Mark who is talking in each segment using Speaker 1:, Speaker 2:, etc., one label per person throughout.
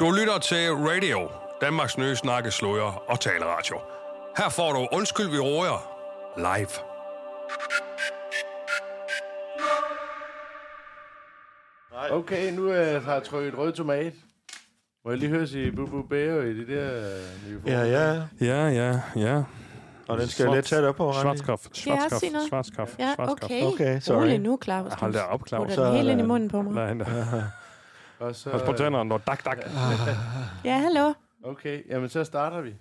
Speaker 1: Du lytter til Radio, Danmarks nye snakke, sløjer og taleradio. Her får du Undskyld, vi råger live.
Speaker 2: Okay, nu øh, har jeg trykket rød tomat. Må jeg lige høre sige Bubu Bære i det der øh, nye
Speaker 3: Ja,
Speaker 2: form?
Speaker 3: ja.
Speaker 4: Ja, ja, ja.
Speaker 3: Og den skal jo lidt tæt op på, Randi.
Speaker 4: Schwarzkopf,
Speaker 5: Skal jeg også sige
Speaker 4: Schwarzkopf,
Speaker 5: noget?
Speaker 4: Schwarzkopf,
Speaker 5: Ja,
Speaker 4: Schwarzkopf.
Speaker 5: okay.
Speaker 3: Okay, sorry.
Speaker 5: Rolig nu, Claus.
Speaker 4: Hold da op, Claus.
Speaker 5: Claus.
Speaker 3: Så
Speaker 5: Så
Speaker 3: er
Speaker 5: den helt
Speaker 3: der-
Speaker 5: ind i munden på mig.
Speaker 4: Nej, nej.
Speaker 2: Og så,
Speaker 4: Pas på tænderne, når dak, dak.
Speaker 5: Ja, hallo.
Speaker 2: okay, jamen så starter vi.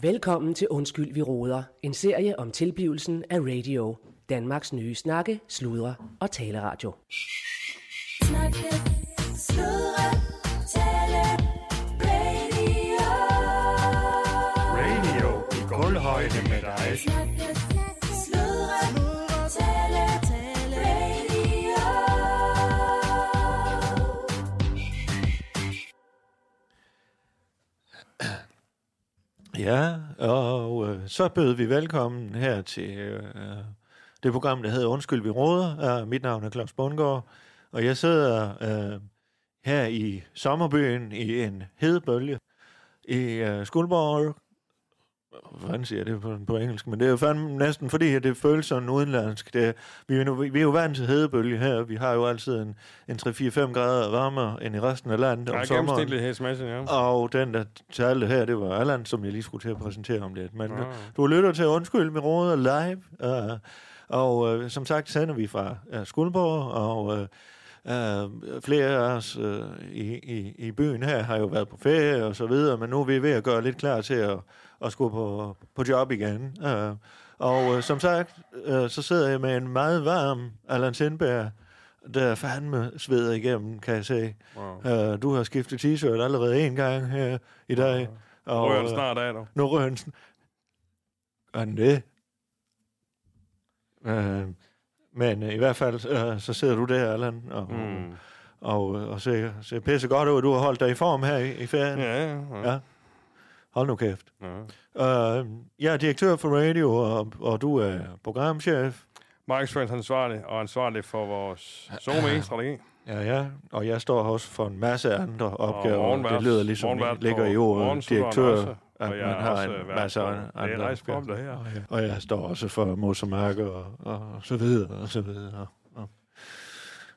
Speaker 6: Velkommen til Undskyld, vi råder. En serie om tilblivelsen af radio. Danmarks nye snakke, sludre og taleradio.
Speaker 7: Snakke, sludre, tale, radio.
Speaker 4: Radio i guldhøjde med dig.
Speaker 7: Snakke, sludre, tale, tale, radio.
Speaker 3: Ja, og øh, så bød vi velkommen her til øh, det program, der hedder Undskyld, vi råder. Uh, mit navn er Claus Bundgaard, og jeg sidder øh, her i sommerbyen i en hedebølge i øh, Skuldborg. Hvordan siger jeg det på, på engelsk? Men det er jo fandme næsten fordi, at det føles sådan udenlandsk. Det, vi, er jo, vi er jo vant til hedebølge her. Vi har jo altid en, en 3-4-5 grader varmere end i resten af landet om
Speaker 4: Ja,
Speaker 3: sommeren.
Speaker 4: gennemsnitlig hesmasse, ja.
Speaker 3: Og den, der talte her, det var Allan, som jeg lige skulle til at præsentere om lidt. Men
Speaker 4: Ah.
Speaker 3: ah. du lytter til Undskyld med Råder live, øh, og øh, som sagt sender vi fra øh, Skuldborg, og øh, øh, flere af os øh, i, i, i byen her har jo været på ferie og så videre, men nu er vi ved at gøre lidt klar til at, at skulle på, på job igen. Øh, og øh, som sagt, øh, så sidder jeg med en meget varm Allan Sindberg, der fandme sveder igennem, kan jeg se.
Speaker 4: Wow.
Speaker 3: Øh, du har skiftet t-shirt allerede en gang her i dag. Og,
Speaker 4: Rører den
Speaker 3: øh,
Speaker 4: snart af, du.
Speaker 3: Nu rører den snart. Gør den det? Øh, men øh, i hvert fald, øh, så sidder du der, Allan, og, mm.
Speaker 4: Mm.
Speaker 3: og, øh, og, og ser, ser pisse godt ud. Du har holdt dig i form her i, i ferien.
Speaker 4: Ja, ja, ja.
Speaker 3: Ja. Hold nu kæft.
Speaker 4: ja.
Speaker 3: Øh, jeg er direktør for radio, og, og du er programchef.
Speaker 4: Markedsføringsansvarlig og ansvarlig for vores SoMe-strategi.
Speaker 3: Ja, ja. Og jeg står også for en masse andre opgaver.
Speaker 4: morgenvært-
Speaker 3: Det lyder ligesom,
Speaker 4: morgenvært
Speaker 3: det ligger i
Speaker 4: på
Speaker 3: ordet
Speaker 4: morgensutteren også,
Speaker 3: direktør,
Speaker 4: og
Speaker 3: at
Speaker 4: jeg er
Speaker 3: man har
Speaker 4: også
Speaker 3: en
Speaker 4: vært
Speaker 3: masse
Speaker 4: på-
Speaker 3: andre
Speaker 4: Det er rejs
Speaker 3: opgaver.
Speaker 4: på det her.
Speaker 3: Og jeg står også for mosemarker og, og så videre, og så videre. Og,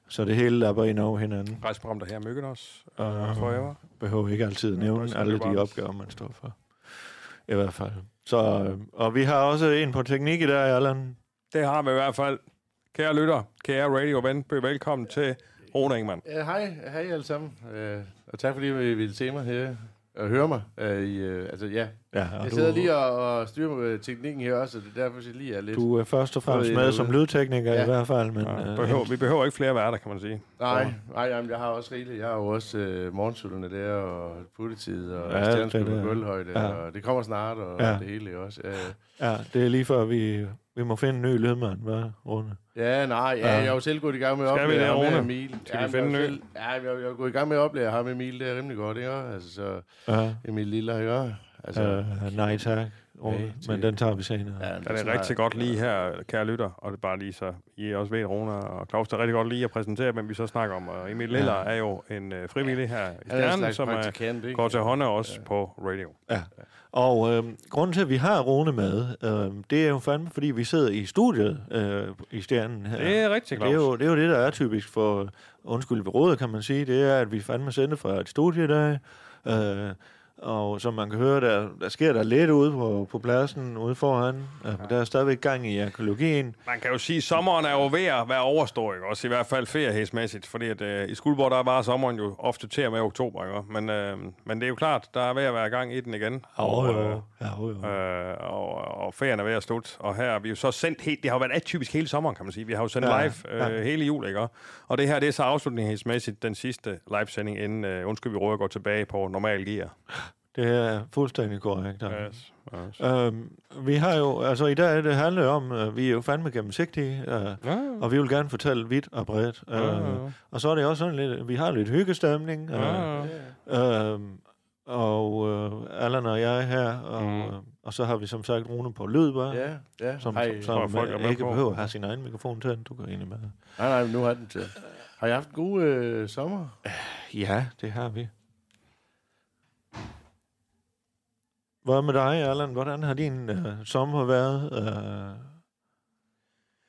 Speaker 3: så det hele lapper ind over hinanden.
Speaker 4: Rejseprogram, der her myggen os.
Speaker 3: Og
Speaker 4: Forever.
Speaker 3: behøver ikke altid at nævne
Speaker 4: Rejse-
Speaker 3: alle
Speaker 4: Barnes.
Speaker 3: de opgaver, man står for. I hvert fald. Så, øh, og vi har også en på teknik i dag, Allan.
Speaker 4: Det har vi i hvert fald. Kære lytter, kære radioven, bød velkommen til Rune Ingemann.
Speaker 2: Øh, Hej, hej alle sammen. Øh, og tak fordi I ville se mig her og høre mig. Øh, i, øh, altså ja,
Speaker 3: Ja, og
Speaker 2: jeg
Speaker 3: du,
Speaker 2: sidder lige og, og styrer med teknikken her også, og det er derfor, jeg lige er lidt...
Speaker 3: du er først og fremmest
Speaker 2: Ude i
Speaker 3: med
Speaker 2: det
Speaker 3: som
Speaker 2: ude.
Speaker 3: lydtekniker ja.
Speaker 2: Ja.
Speaker 3: i hvert fald, men
Speaker 4: Ja,
Speaker 3: øh,
Speaker 4: behøver, vi behøver ikke flere værter, kan man sige.
Speaker 2: Nej, nej, jamen, jeg har også rigeligt. Jeg har jo også øh, morgensutterne der, og puttetid, og
Speaker 3: Ja,
Speaker 2: ja, stjerneskud
Speaker 3: det der.
Speaker 2: på gulvhøjde,
Speaker 3: Ja.
Speaker 2: ja. og det kommer snart, og
Speaker 3: Ja.
Speaker 2: ja. det hele også. Øh,
Speaker 3: ja, det er lige før, vi, vi må finde en ny lydmand, hvad, Rune?
Speaker 2: ja, nej, ja,
Speaker 3: Ja.
Speaker 2: jeg er jo selv gået i gang med at
Speaker 4: Skal vi
Speaker 2: oplære
Speaker 4: det,
Speaker 2: ham med
Speaker 4: Rune?
Speaker 2: Emil.
Speaker 4: Skal vi finde
Speaker 2: Jamen, jeg er
Speaker 4: en
Speaker 2: jo
Speaker 4: ny?
Speaker 2: selv- Ja, jeg, jeg er gået i gang med at oplære ham Emil, det er rimelig godt, ikke? Altså, så
Speaker 3: Ja,
Speaker 2: Emil Lille, ikke? Altså, ja.
Speaker 3: øh, nej tak, Rune,
Speaker 2: Nej, det-
Speaker 3: men den tager vi senere.
Speaker 2: Ja, men
Speaker 4: Ja, det er
Speaker 2: sådan,
Speaker 4: rigtig godt lige her, kære lytter, og det er bare lige så, I også ved, Rona og Claus, det er rigtig godt lige at præsentere, hvem vi så snakker om, og Emil Liller
Speaker 3: Ja.
Speaker 4: er jo en øh, frivillig her i
Speaker 2: Han er en
Speaker 4: Stjernen,
Speaker 2: slags
Speaker 4: som er,
Speaker 2: praktikant, ikke?
Speaker 4: går til hånd af os på radio.
Speaker 3: Ja. Og øh, grunden til, at vi har Rune med, øh, det er jo fandme, fordi vi sidder i studiet øh, i Stjernen her.
Speaker 4: Det er rigtig,
Speaker 3: det, er
Speaker 4: Claus.
Speaker 3: jo, det er jo det, der er typisk for Undskyld ved rådet, kan man sige. Det er, at vi fandme sender fra et studiedag. Øh, og som man kan høre, der, der sker der lidt ude på, på pladsen ude foran. Øh, Der er stadigvæk gang i arkeologien.
Speaker 4: Man kan jo sige, at sommeren er jo ved at være overstået, ikke? også i hvert fald feriehæsmæssigt, fordi at, øh, i Skuldborg, der var sommeren jo ofte til og med oktober, ikke? Men, øh, men det er jo klart, der er ved at være gang i den igen.
Speaker 3: Og,
Speaker 4: øh,
Speaker 3: øh, ja, jo, jo.
Speaker 4: Øh, og, og ferien er ved at slutte, og her er vi jo så sendt helt, det har jo været atypisk hele sommeren, kan man sige. Vi har jo sendt
Speaker 3: Ja,
Speaker 4: ja, live øh, ja. hele jul, ikke? Og det her, det er så afslutningsmæssigt den sidste livesending, inden øh, undskyld, vi råder går tilbage på normal gear.
Speaker 3: Det er fuldstændig korrekt. Anders.
Speaker 4: Yes, yes.
Speaker 3: Øhm, vi har jo, altså i dag, det handler jo om, øh, vi er jo fandme gennemsigtige, øh,
Speaker 4: Ja, ja.
Speaker 3: og vi vil gerne fortælle vidt og bredt. Øh,
Speaker 4: Ja, ja, ja.
Speaker 3: Og så er det også sådan lidt, vi har lidt hyggestemning, øh,
Speaker 4: Ja, ja.
Speaker 3: øhm, og øh, Allan og jeg er her, og,
Speaker 4: Mm.
Speaker 3: øh, og så har vi som sagt Rune på lyd, bare,
Speaker 2: Ja, ja.
Speaker 3: som,
Speaker 2: Hej.
Speaker 3: som,
Speaker 4: Tror jeg,
Speaker 3: som
Speaker 4: folk er med
Speaker 3: ikke
Speaker 4: på.
Speaker 3: behøver at have sin egen mikrofon tændt, du går egentlig med.
Speaker 2: Nej, nej, men nu har den til. Har I haft en god øh, sommer?
Speaker 3: Ja, det har vi. Hvad med dig, Allan? Hvordan har din øh, sommer været? Øh,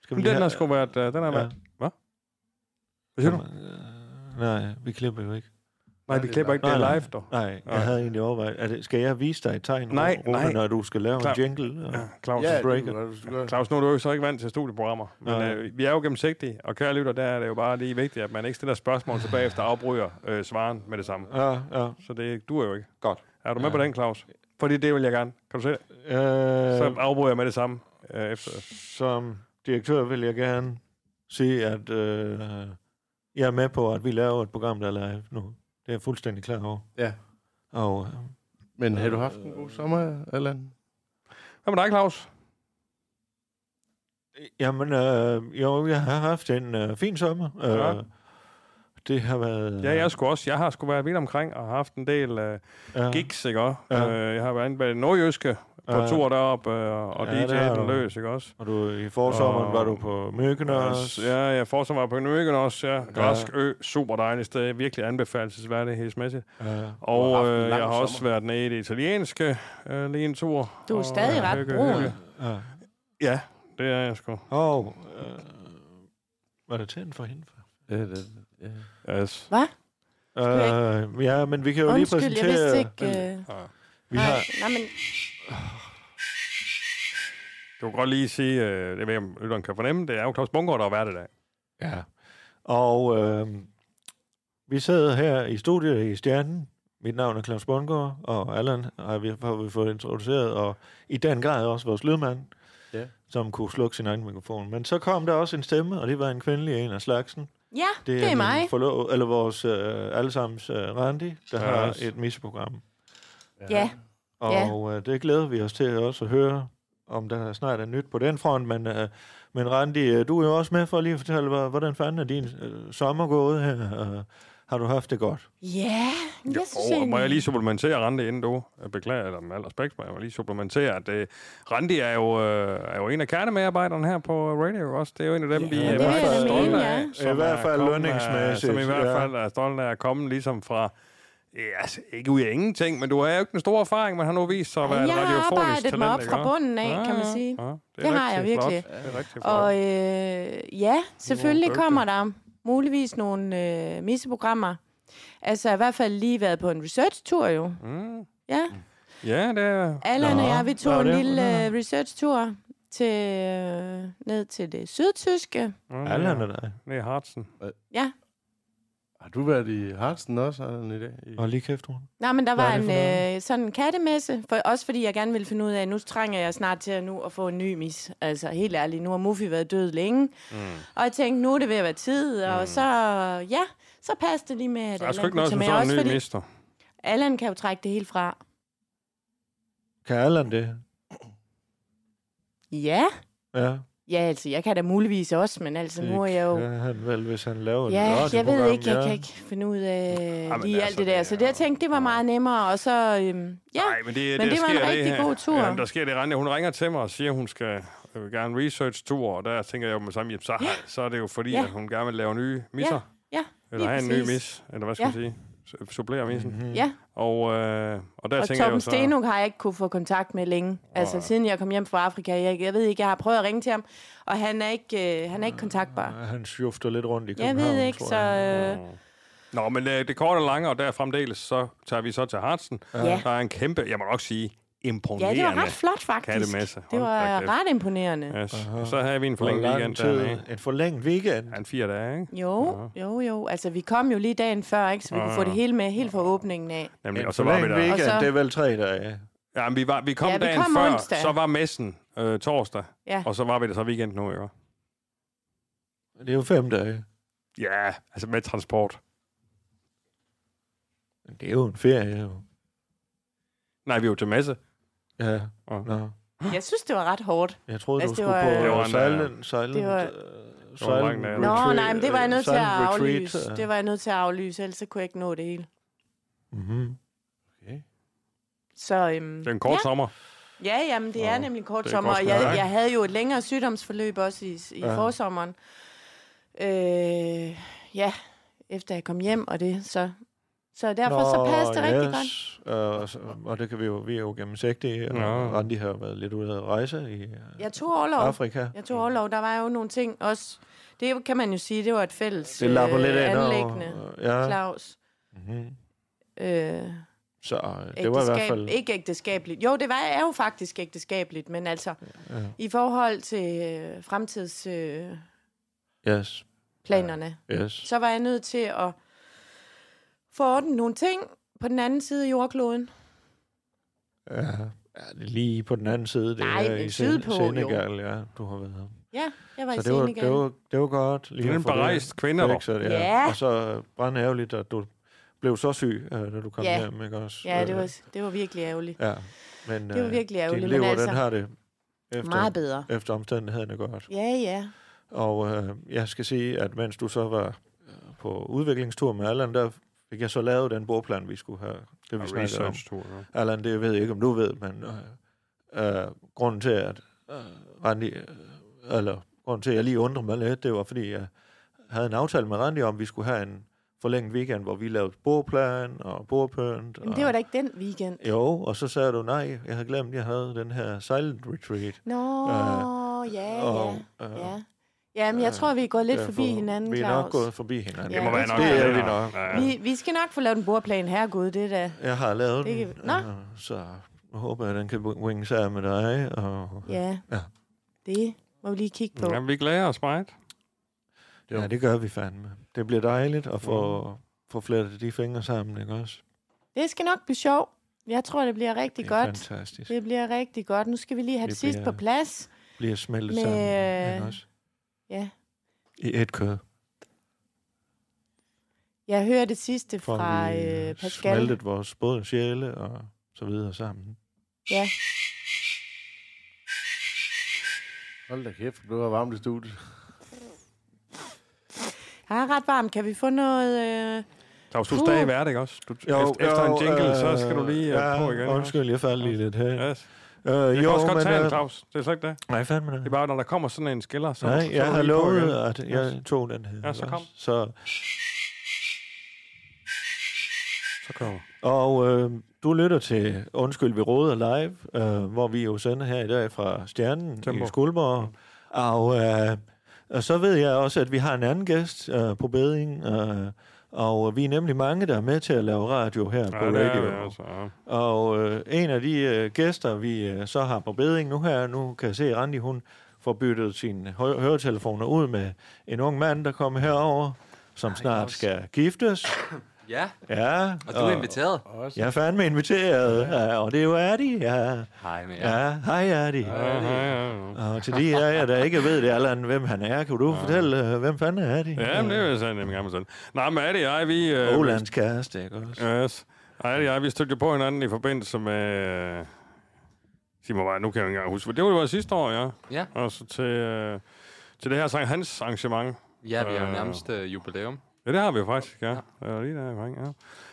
Speaker 3: skal
Speaker 4: Men
Speaker 3: lige
Speaker 4: den har
Speaker 3: have-
Speaker 4: sgu været... øh, Den har
Speaker 3: Ja.
Speaker 4: været... Hvad? Hvad siger du?
Speaker 3: Øh, Nej, vi klipper jo ikke.
Speaker 4: Nej, vi klipper ikke det
Speaker 3: Nej,
Speaker 4: live, dog.
Speaker 3: Nej, jeg
Speaker 4: Nej.
Speaker 3: havde egentlig overvejet. Er det, skal jeg vise dig et tegn,
Speaker 4: Nej,
Speaker 3: Rune,
Speaker 4: nej.
Speaker 3: når du skal lave
Speaker 4: Klar.
Speaker 3: en jingle? Og,
Speaker 4: Ja, Claus.
Speaker 2: ja, det
Speaker 3: breaker.
Speaker 2: kunne godt, hvis du gør.
Speaker 4: Claus, nu er du jo så ikke vant til studieprogrammer, men
Speaker 3: Nej.
Speaker 4: øh, vi er jo gennemsigtige, og kære lytter, der er det jo bare lige vigtigt, at man ikke stiller spørgsmål, så bagefter afbryder øh, svaren med det samme.
Speaker 3: ja, ja.
Speaker 4: Så det duer jo ikke.
Speaker 3: Godt.
Speaker 4: Er du med
Speaker 3: Ja.
Speaker 4: på den, Claus? Fordi det vil jeg gerne. Kan du se?
Speaker 3: Øh,
Speaker 4: Så afbryder jeg med det samme. Øh, efter.
Speaker 3: Som direktør vil jeg gerne sige, at øh, jeg er med på, at vi laver et program, der er live nu. Det er jeg fuldstændig klar over.
Speaker 2: Ja.
Speaker 3: Og øh,
Speaker 2: Men har du haft en god sommer, Allan?
Speaker 4: Hvad med dig, Claus?
Speaker 3: jamen, øh, jo, jeg har haft en øh, fin sommer. Øh,
Speaker 4: Ja.
Speaker 3: Det har været...
Speaker 4: Ja, jeg skulle også. Jeg har sgu været vidt omkring og haft en del øh,
Speaker 3: ja.
Speaker 4: gigs, ikke også?
Speaker 3: Ja.
Speaker 4: Øh, jeg har været inde bag Nordjyske på
Speaker 3: Ja.
Speaker 4: tur deroppe, øh, og
Speaker 3: Ja, det
Speaker 4: DJ'en
Speaker 3: har du.
Speaker 4: løs, ikke også?
Speaker 3: Og du, i forsommeren
Speaker 4: Og-
Speaker 3: var du på Møkene også.
Speaker 4: Ja, jeg får så meget på Nøkken også, ja. Græsk Ø, super dejligt sted. Virkelig anbefalesværdigt, helsemæssigt.
Speaker 3: Ja.
Speaker 4: Og
Speaker 2: haft en
Speaker 4: øh,
Speaker 2: lang
Speaker 4: jeg har også
Speaker 2: sommer.
Speaker 4: været nede i det italienske øh, lige en tur.
Speaker 5: Du er
Speaker 4: Og,
Speaker 5: stadig
Speaker 4: øh,
Speaker 5: ret
Speaker 4: hygge,
Speaker 5: brun.
Speaker 4: hygge.
Speaker 3: ja.
Speaker 4: Ja, det er jeg sgu.
Speaker 3: Og... Øh, var det tændt for hende?
Speaker 2: Ja, det, ja.
Speaker 4: Yes.
Speaker 3: Øh, ja, men vi kan jo
Speaker 5: Undskyld,
Speaker 3: lige
Speaker 5: jeg
Speaker 3: præsentere...
Speaker 5: vidste ikke... Øh,
Speaker 3: vi
Speaker 5: nej,
Speaker 3: har,
Speaker 5: nej, men
Speaker 4: Du kan godt lige sige, øh, det ved jeg, om lytteren kan fornemme, det er jo Claus Bungård, der har været i dag.
Speaker 3: Ja. Og øh, vi sidder her i studiet i Stjernen. Mit navn er Claus Bundgaard, og Allan har vi, har vi fået introduceret, og i den grad også vores lydmand,
Speaker 2: Ja.
Speaker 3: som kunne slukke sin egen mikrofon. Men så kom der også en stemme, og det var en kvindelig en af slagsen.
Speaker 5: ja, det er, det er
Speaker 3: min
Speaker 5: mig.
Speaker 3: Forlo- eller vores øh, allesammens øh, Randi, der
Speaker 4: Ja,
Speaker 3: har
Speaker 4: også.
Speaker 3: et misprogram.
Speaker 5: Ja.
Speaker 3: Og
Speaker 5: Ja.
Speaker 3: øh, det glæder vi os til også at høre, om der snart er nyt på den front. Men, øh, men Randi, øh, du er jo også med for lige at fortælle, hvor- hvordan fanden er din øh, sommer gået her? Øh, har du haft det godt?
Speaker 5: Ja, jeg synes
Speaker 4: Og må jeg lige
Speaker 5: egentlig-
Speaker 4: supplementere Randi, inden du jeg beklager, eller med al respekt, må jeg lige supplementere, at øh, Randi er jo, øh, er jo en af kernemedarbejderne her på Radio også. Det er jo en af dem,
Speaker 3: Ja,
Speaker 4: vi
Speaker 3: det
Speaker 4: er
Speaker 3: vil jeg
Speaker 4: meget
Speaker 3: da mene,
Speaker 4: stolte
Speaker 5: ja.
Speaker 4: af. som
Speaker 3: I hvert
Speaker 4: er
Speaker 3: fald
Speaker 4: kommet af-
Speaker 3: lønningsmæssigt,
Speaker 4: Som i hvert
Speaker 3: ja.
Speaker 4: fald er stolte af at komme ligesom fra... Ja, altså, ikke ud af ingenting, men du har jo ikke den store erfaring, men har nu vist sig at være
Speaker 5: Jamen,
Speaker 4: et
Speaker 5: jeg har
Speaker 4: radiofonisk talent.
Speaker 5: arbejdet mig op
Speaker 4: ikke
Speaker 5: fra
Speaker 4: også?
Speaker 5: bunden af,
Speaker 4: Ja,
Speaker 5: kan man
Speaker 4: ja,
Speaker 5: sige.
Speaker 4: ja.
Speaker 5: Det har jeg
Speaker 4: rigtig
Speaker 5: virkelig.
Speaker 4: Flot. Det er rigtig flot.
Speaker 5: Og øh, ja, selvfølgelig
Speaker 4: dygtig.
Speaker 5: kommer der muligvis nogle øh, misseprogrammer. Altså, jeg har i hvert fald lige været på en research-tur jo.
Speaker 4: Mm.
Speaker 5: Ja,
Speaker 4: Ja, det er...
Speaker 5: Allan
Speaker 3: Nå,
Speaker 5: og jeg, vi
Speaker 3: nå,
Speaker 5: tog en
Speaker 3: det-
Speaker 5: lille
Speaker 3: nå,
Speaker 5: øh, research-tur til, øh, ned til det sydtyske.
Speaker 4: Mm,
Speaker 3: Alle er der.
Speaker 4: Det er Hartsen.
Speaker 2: Har du været i Hartsen også, Allan, i dag? I...
Speaker 3: Og lige kæft, hun.
Speaker 5: Nej, men der
Speaker 3: Hvad er
Speaker 5: var
Speaker 3: det
Speaker 5: en
Speaker 3: for noget?
Speaker 5: øh, sådan en kattemesse, for, også fordi jeg gerne ville finde ud af, at nu trænger jeg snart til at, nu at få en ny mis. Altså helt ærligt, nu har Muffy været død længe, mm. og jeg tænkte, nu er det ved at være tid, og så, ja, så passede det lige med, at
Speaker 4: Der er sgu
Speaker 5: Allan
Speaker 4: ikke
Speaker 5: kunne
Speaker 4: noget,
Speaker 5: tage
Speaker 4: som
Speaker 5: med,
Speaker 4: sådan
Speaker 5: også
Speaker 4: en ny
Speaker 5: fordi
Speaker 4: mister.
Speaker 5: Allan kan jo trække det helt fra.
Speaker 3: Kan Allan det?
Speaker 5: Ja,
Speaker 3: Ja.
Speaker 5: ja altså, jeg kan da muligvis også, men altså, nu er jeg jo...
Speaker 3: Det kan han vel, hvis han laver et
Speaker 5: Ja, jeg ved
Speaker 3: radioprogram,
Speaker 5: ikke, jeg
Speaker 3: ja.
Speaker 5: kan ikke finde ud af
Speaker 4: men
Speaker 5: lige alt
Speaker 4: altså,
Speaker 5: det der.
Speaker 4: det
Speaker 5: Så
Speaker 4: er
Speaker 5: det, jeg
Speaker 4: jo-
Speaker 5: tænkte, det var meget nemmere, og så, øhm,
Speaker 4: Nej,
Speaker 5: ja,
Speaker 4: men det,
Speaker 5: men
Speaker 4: der
Speaker 5: det var en
Speaker 4: sker
Speaker 5: rigtig
Speaker 4: her.
Speaker 5: god tur.
Speaker 4: Jamen, der sker det, Ranja. Hun ringer til mig og siger, at hun skal øh, gerne research-tur, og der tænker jeg jo med samme, jamen, så, har, så er det jo fordi,
Speaker 5: Ja.
Speaker 4: at hun gerne vil lave nye misser.
Speaker 5: ja,
Speaker 4: eller
Speaker 5: lige
Speaker 4: have en ny
Speaker 5: præcis.
Speaker 4: mis, eller hvad skal man sige? S- Supplere missen.
Speaker 3: Mhm.
Speaker 4: Mm-hmm.
Speaker 5: ja.
Speaker 4: Og, øh, og der
Speaker 5: Og
Speaker 4: tænker jeg jo
Speaker 5: Torben
Speaker 4: så...
Speaker 5: Stenuk har jeg ikke kunne få kontakt med længe. Altså, siden jeg kom hjem fra Afrika. Jeg, jeg ved ikke, jeg har prøvet at ringe til ham, og han er ikke, øh, han er ikke kontaktbar.
Speaker 3: Han sjufter lidt rundt i
Speaker 5: Jeg
Speaker 3: København,
Speaker 5: ved ikke,
Speaker 3: tror
Speaker 5: så...
Speaker 3: jeg.
Speaker 5: Øh,
Speaker 4: Nå, men øh, det korte og lange, og der fremdeles, så tager vi så til Hartsen.
Speaker 5: Ja.
Speaker 4: Der er en kæmpe, jeg må nok sige,
Speaker 5: ja,
Speaker 4: imponerende.
Speaker 5: det var ret flot, faktisk.
Speaker 4: kattemesse.
Speaker 5: Det
Speaker 4: Hold da
Speaker 5: var
Speaker 4: kæft.
Speaker 5: ret imponerende.
Speaker 4: Yes. Så havde vi en
Speaker 3: Hvor
Speaker 4: forlænget
Speaker 3: lang
Speaker 4: weekend
Speaker 3: tid-
Speaker 4: dernede.
Speaker 3: En forlænget weekend.
Speaker 4: Ja, en fire dage, ikke?
Speaker 5: Jo, jo, jo. Altså, vi kom jo lige dagen før, ikke? Så vi kunne få det hele med, helt fra åbningen af.
Speaker 4: Nemlig,
Speaker 3: En
Speaker 4: og så var vi
Speaker 3: forlænget
Speaker 4: der.
Speaker 3: weekend,
Speaker 5: Og så-
Speaker 3: det er vel tre dage.
Speaker 4: Ja, men vi, var, vi kom
Speaker 5: Ja, vi
Speaker 4: dagen
Speaker 5: kom
Speaker 4: før,
Speaker 5: onsdag.
Speaker 4: så var messen øh, torsdag,
Speaker 5: Ja.
Speaker 4: og så var vi der så weekend nu, ikke?
Speaker 3: Det er jo fem dage.
Speaker 4: Ja, altså med transport.
Speaker 3: Men Det er jo en ferie, jo.
Speaker 4: Nej, vi var til messe.
Speaker 3: Ja,
Speaker 4: Og-
Speaker 3: nå.
Speaker 5: Jeg synes, det var ret hårdt.
Speaker 3: Jeg troede,
Speaker 5: Altså,
Speaker 3: altså,
Speaker 5: det
Speaker 3: du skulle
Speaker 5: var-
Speaker 3: på
Speaker 4: Det var
Speaker 3: øh,
Speaker 4: en,
Speaker 3: silent, silent,
Speaker 5: det var-
Speaker 3: øh,
Speaker 4: var en lang
Speaker 3: silent
Speaker 4: nat.
Speaker 5: Nå,
Speaker 3: retreat,
Speaker 5: nej, men det var jeg
Speaker 3: øh,
Speaker 5: nødt til at
Speaker 3: silent retreat,
Speaker 5: aflyse.
Speaker 3: øh.
Speaker 5: Det var jeg nødt til at aflyse, ellers så kunne jeg ikke nå det hele.
Speaker 3: Mhm.
Speaker 5: Så, øhm,
Speaker 4: Det er en kort
Speaker 5: ja.
Speaker 4: sommer.
Speaker 5: Ja, jamen, det er nemlig en kort
Speaker 4: det er
Speaker 5: sommer,
Speaker 4: godt
Speaker 5: og
Speaker 4: nok.
Speaker 5: jeg, jeg havde jo et længere sygdomsforløb også i, i ja. forsommeren. Øh, ja, efter jeg kom hjem og det, så, så derfor så passede det rigtig godt.
Speaker 3: Øh, og, så, og det kan vi jo, vi er jo gennemsigtige, og
Speaker 4: Nå.
Speaker 3: Randi har jo været lidt ude at rejse i øh,
Speaker 5: Jeg tog overlov.
Speaker 3: Afrika.
Speaker 5: Jeg tog overlov. Der var jo nogle ting også. Det kan man jo sige, det var et fælles
Speaker 3: Det lapper lidt
Speaker 5: øh,
Speaker 3: ind
Speaker 5: anlæggende.
Speaker 3: over. Ja,
Speaker 5: Claus.
Speaker 3: mm-hmm.
Speaker 5: Øh,
Speaker 3: så øh, det var i
Speaker 5: ægteskab,
Speaker 3: hvert fald...
Speaker 5: Ikke ægteskabeligt. Jo, det var, er jo faktisk ægteskabeligt, men altså ja. i forhold til øh, fremtidsplanerne, øh,
Speaker 3: Yes,
Speaker 5: planerne,
Speaker 3: yes.
Speaker 5: så var jeg nødt til at få ordnet nogle ting på den anden side af jordkloden.
Speaker 3: Ja. ja, det er lige på den anden side. Det
Speaker 5: Nej,
Speaker 3: er
Speaker 5: men
Speaker 3: i
Speaker 5: sydpå, jo.
Speaker 3: Senegal, ja, du har været.
Speaker 5: Ja, jeg var
Speaker 3: Så
Speaker 5: i
Speaker 3: det var,
Speaker 5: Senegal.
Speaker 3: det var, det var godt. Lige
Speaker 4: Det er
Speaker 3: at
Speaker 4: en
Speaker 3: få det
Speaker 4: berejst kvinde, dog.
Speaker 3: fikset, ja.
Speaker 5: Ja.
Speaker 3: Og så øh, brandærgerligt, at du blev så syg, øh, da du kom
Speaker 5: Ja.
Speaker 3: hjem, ikke også?
Speaker 5: ja, det
Speaker 3: Øh,
Speaker 5: var, det var virkelig ærgerligt.
Speaker 3: Ja, men,
Speaker 5: Det var
Speaker 3: øh,
Speaker 5: virkelig ærgerligt,
Speaker 3: Din
Speaker 5: men
Speaker 3: lever,
Speaker 5: altså-
Speaker 3: den har det efter,
Speaker 5: Meget bedre.
Speaker 3: efter omstændighederne godt.
Speaker 5: Ja, ja.
Speaker 3: Og øh, jeg skal sige, at mens du så var øh, på udviklingstur med Allan, der fik jeg så lavet den bordplan, vi skulle have. Det vi snakkede om.
Speaker 4: Research-tur, ja.
Speaker 3: Allan, det ved jeg ikke, om du ved, men øh, øh, grunden til, at øh, Randi, øh, eller grunden til, at jeg lige undrede mig lidt, det var, fordi jeg havde en aftale med Randi om, at vi skulle have en forlænget weekend, hvor vi lavede bordplan og bordpønt.
Speaker 5: Men
Speaker 3: og,
Speaker 5: det var da ikke den weekend.
Speaker 3: Jo, og så sagde du, nej, jeg havde glemt, at jeg havde den her silent retreat.
Speaker 5: Nå, ja,
Speaker 3: og,
Speaker 5: ja,
Speaker 3: øh,
Speaker 5: ja. Jamen, jeg tror, vi er gået lidt forbi hinanden,
Speaker 3: Vi er nok
Speaker 5: Claus.
Speaker 3: gået forbi hinanden.
Speaker 5: Ja, Det må være det nok tror jeg.
Speaker 3: Det er
Speaker 5: det,
Speaker 3: vi
Speaker 4: ja.
Speaker 3: nok.
Speaker 4: Ja, ja.
Speaker 5: Vi, vi skal nok få lavet en bordplan. Herregud, det er da...
Speaker 3: Jeg har lavet
Speaker 5: Det kan
Speaker 3: den,
Speaker 5: vi- Nå.
Speaker 3: øh, så nu håber jeg, at den kan winge sig med dig. Og,
Speaker 5: Ja,
Speaker 3: Ja.
Speaker 5: det må vi lige kigge på.
Speaker 4: Ja, vi glæder os meget.
Speaker 3: Ja, det gør vi fandme. Det bliver dejligt at få, mm. få flettet de fingre sammen, ikke også?
Speaker 5: Det skal nok blive sjovt. Jeg tror, det bliver rigtig
Speaker 3: Det er
Speaker 5: godt.
Speaker 3: fantastisk. Det
Speaker 5: Det bliver rigtig godt. Nu skal vi lige have det,
Speaker 3: Det
Speaker 5: det sidste
Speaker 3: bliver-
Speaker 5: på plads.
Speaker 3: bliver smeltet
Speaker 5: Med- øh,
Speaker 3: sammen, ikke også?
Speaker 5: ja.
Speaker 3: I et kød.
Speaker 5: Jeg hører det sidste
Speaker 3: Får
Speaker 5: fra
Speaker 3: vi
Speaker 5: øh,
Speaker 3: øh,
Speaker 5: Pascal.
Speaker 3: smeltet vores både sjæle og så videre sammen.
Speaker 5: Ja.
Speaker 2: Hold da kæft, du har varmt i studiet.
Speaker 5: Jeg er ret varm. Kan vi få noget... Øh...
Speaker 4: Claus, du er
Speaker 5: Puh.
Speaker 4: stadig vært, ikke også? Du, jo, efter, efter en jingle, øh, så skal du lige øh,
Speaker 3: ja,
Speaker 4: på igen. ikke
Speaker 3: Undskyld, jeg faldt lige lidt her.
Speaker 4: også?
Speaker 3: Ja.
Speaker 4: Yes.
Speaker 3: Øh,
Speaker 4: Jeg jo, kan også godt tage
Speaker 3: øh,
Speaker 4: den, Claus. Det er slet ikke det.
Speaker 3: Nej, fandme
Speaker 4: Det er
Speaker 3: det.
Speaker 4: bare, når der kommer sådan en skiller, så... så
Speaker 3: Nej,
Speaker 4: er du
Speaker 3: jeg har
Speaker 4: lige på igen.
Speaker 3: lovet, at jeg tog den her.
Speaker 4: Ja, så
Speaker 3: ikke
Speaker 4: kom.
Speaker 3: også? Så
Speaker 4: Så kommer.
Speaker 3: Og øh, du lytter til Undskyld, vi råder live, øh, hvor vi jo sender her i dag fra Stjernen Tempo.
Speaker 4: Tempo.
Speaker 3: i Skuldborg. Og, øh, og så ved jeg også, at vi har en anden gæst øh, på beding, øh, og vi er nemlig mange, der er med til at lave radio her
Speaker 4: Ja,
Speaker 3: på
Speaker 4: det er
Speaker 3: radio.
Speaker 4: det, altså. ja.
Speaker 3: Og øh, en af de øh, gæster, vi øh, så har på beding nu her, nu kan jeg se, at Randi hun får byttet sine hø- høretelefoner ud med en ung mand, der kommer herover, som snart
Speaker 8: Claus.
Speaker 3: skal giftes.
Speaker 8: Ja,
Speaker 3: Ja,
Speaker 8: og du er inviteret.
Speaker 3: jeg er fandme inviteret, ja, og det er jo Erdi, ja.
Speaker 8: Hej med jer.
Speaker 3: Ja, hej Erdi.
Speaker 4: Ja, ja, ja.
Speaker 3: Og til de af jer, der ikke ved det, Allan, hvem han er, kan du fortælle, øh, hvem fanden er Erdi?
Speaker 4: Ja, men det er jo sådan, nemlig gammel sådan. Nej, men er det jeg, vi... Øh,
Speaker 3: Olands kæreste, ikke også?
Speaker 4: Yes. Ej, det er jeg. Vi stødte jo på hinanden i forbindelse med... Øh, sig mig bare, nu kan jeg jo ikke engang huske. Det var jo sidste år, ja.
Speaker 8: Ja.
Speaker 4: Og så til, øh, til det her Sankt Hans arrangement.
Speaker 8: Ja, vi har
Speaker 4: Øh.
Speaker 8: jo nærmest øh, jubilæum.
Speaker 4: Ja, det har vi jo faktisk, ja. ja. Lige der omkring, ja.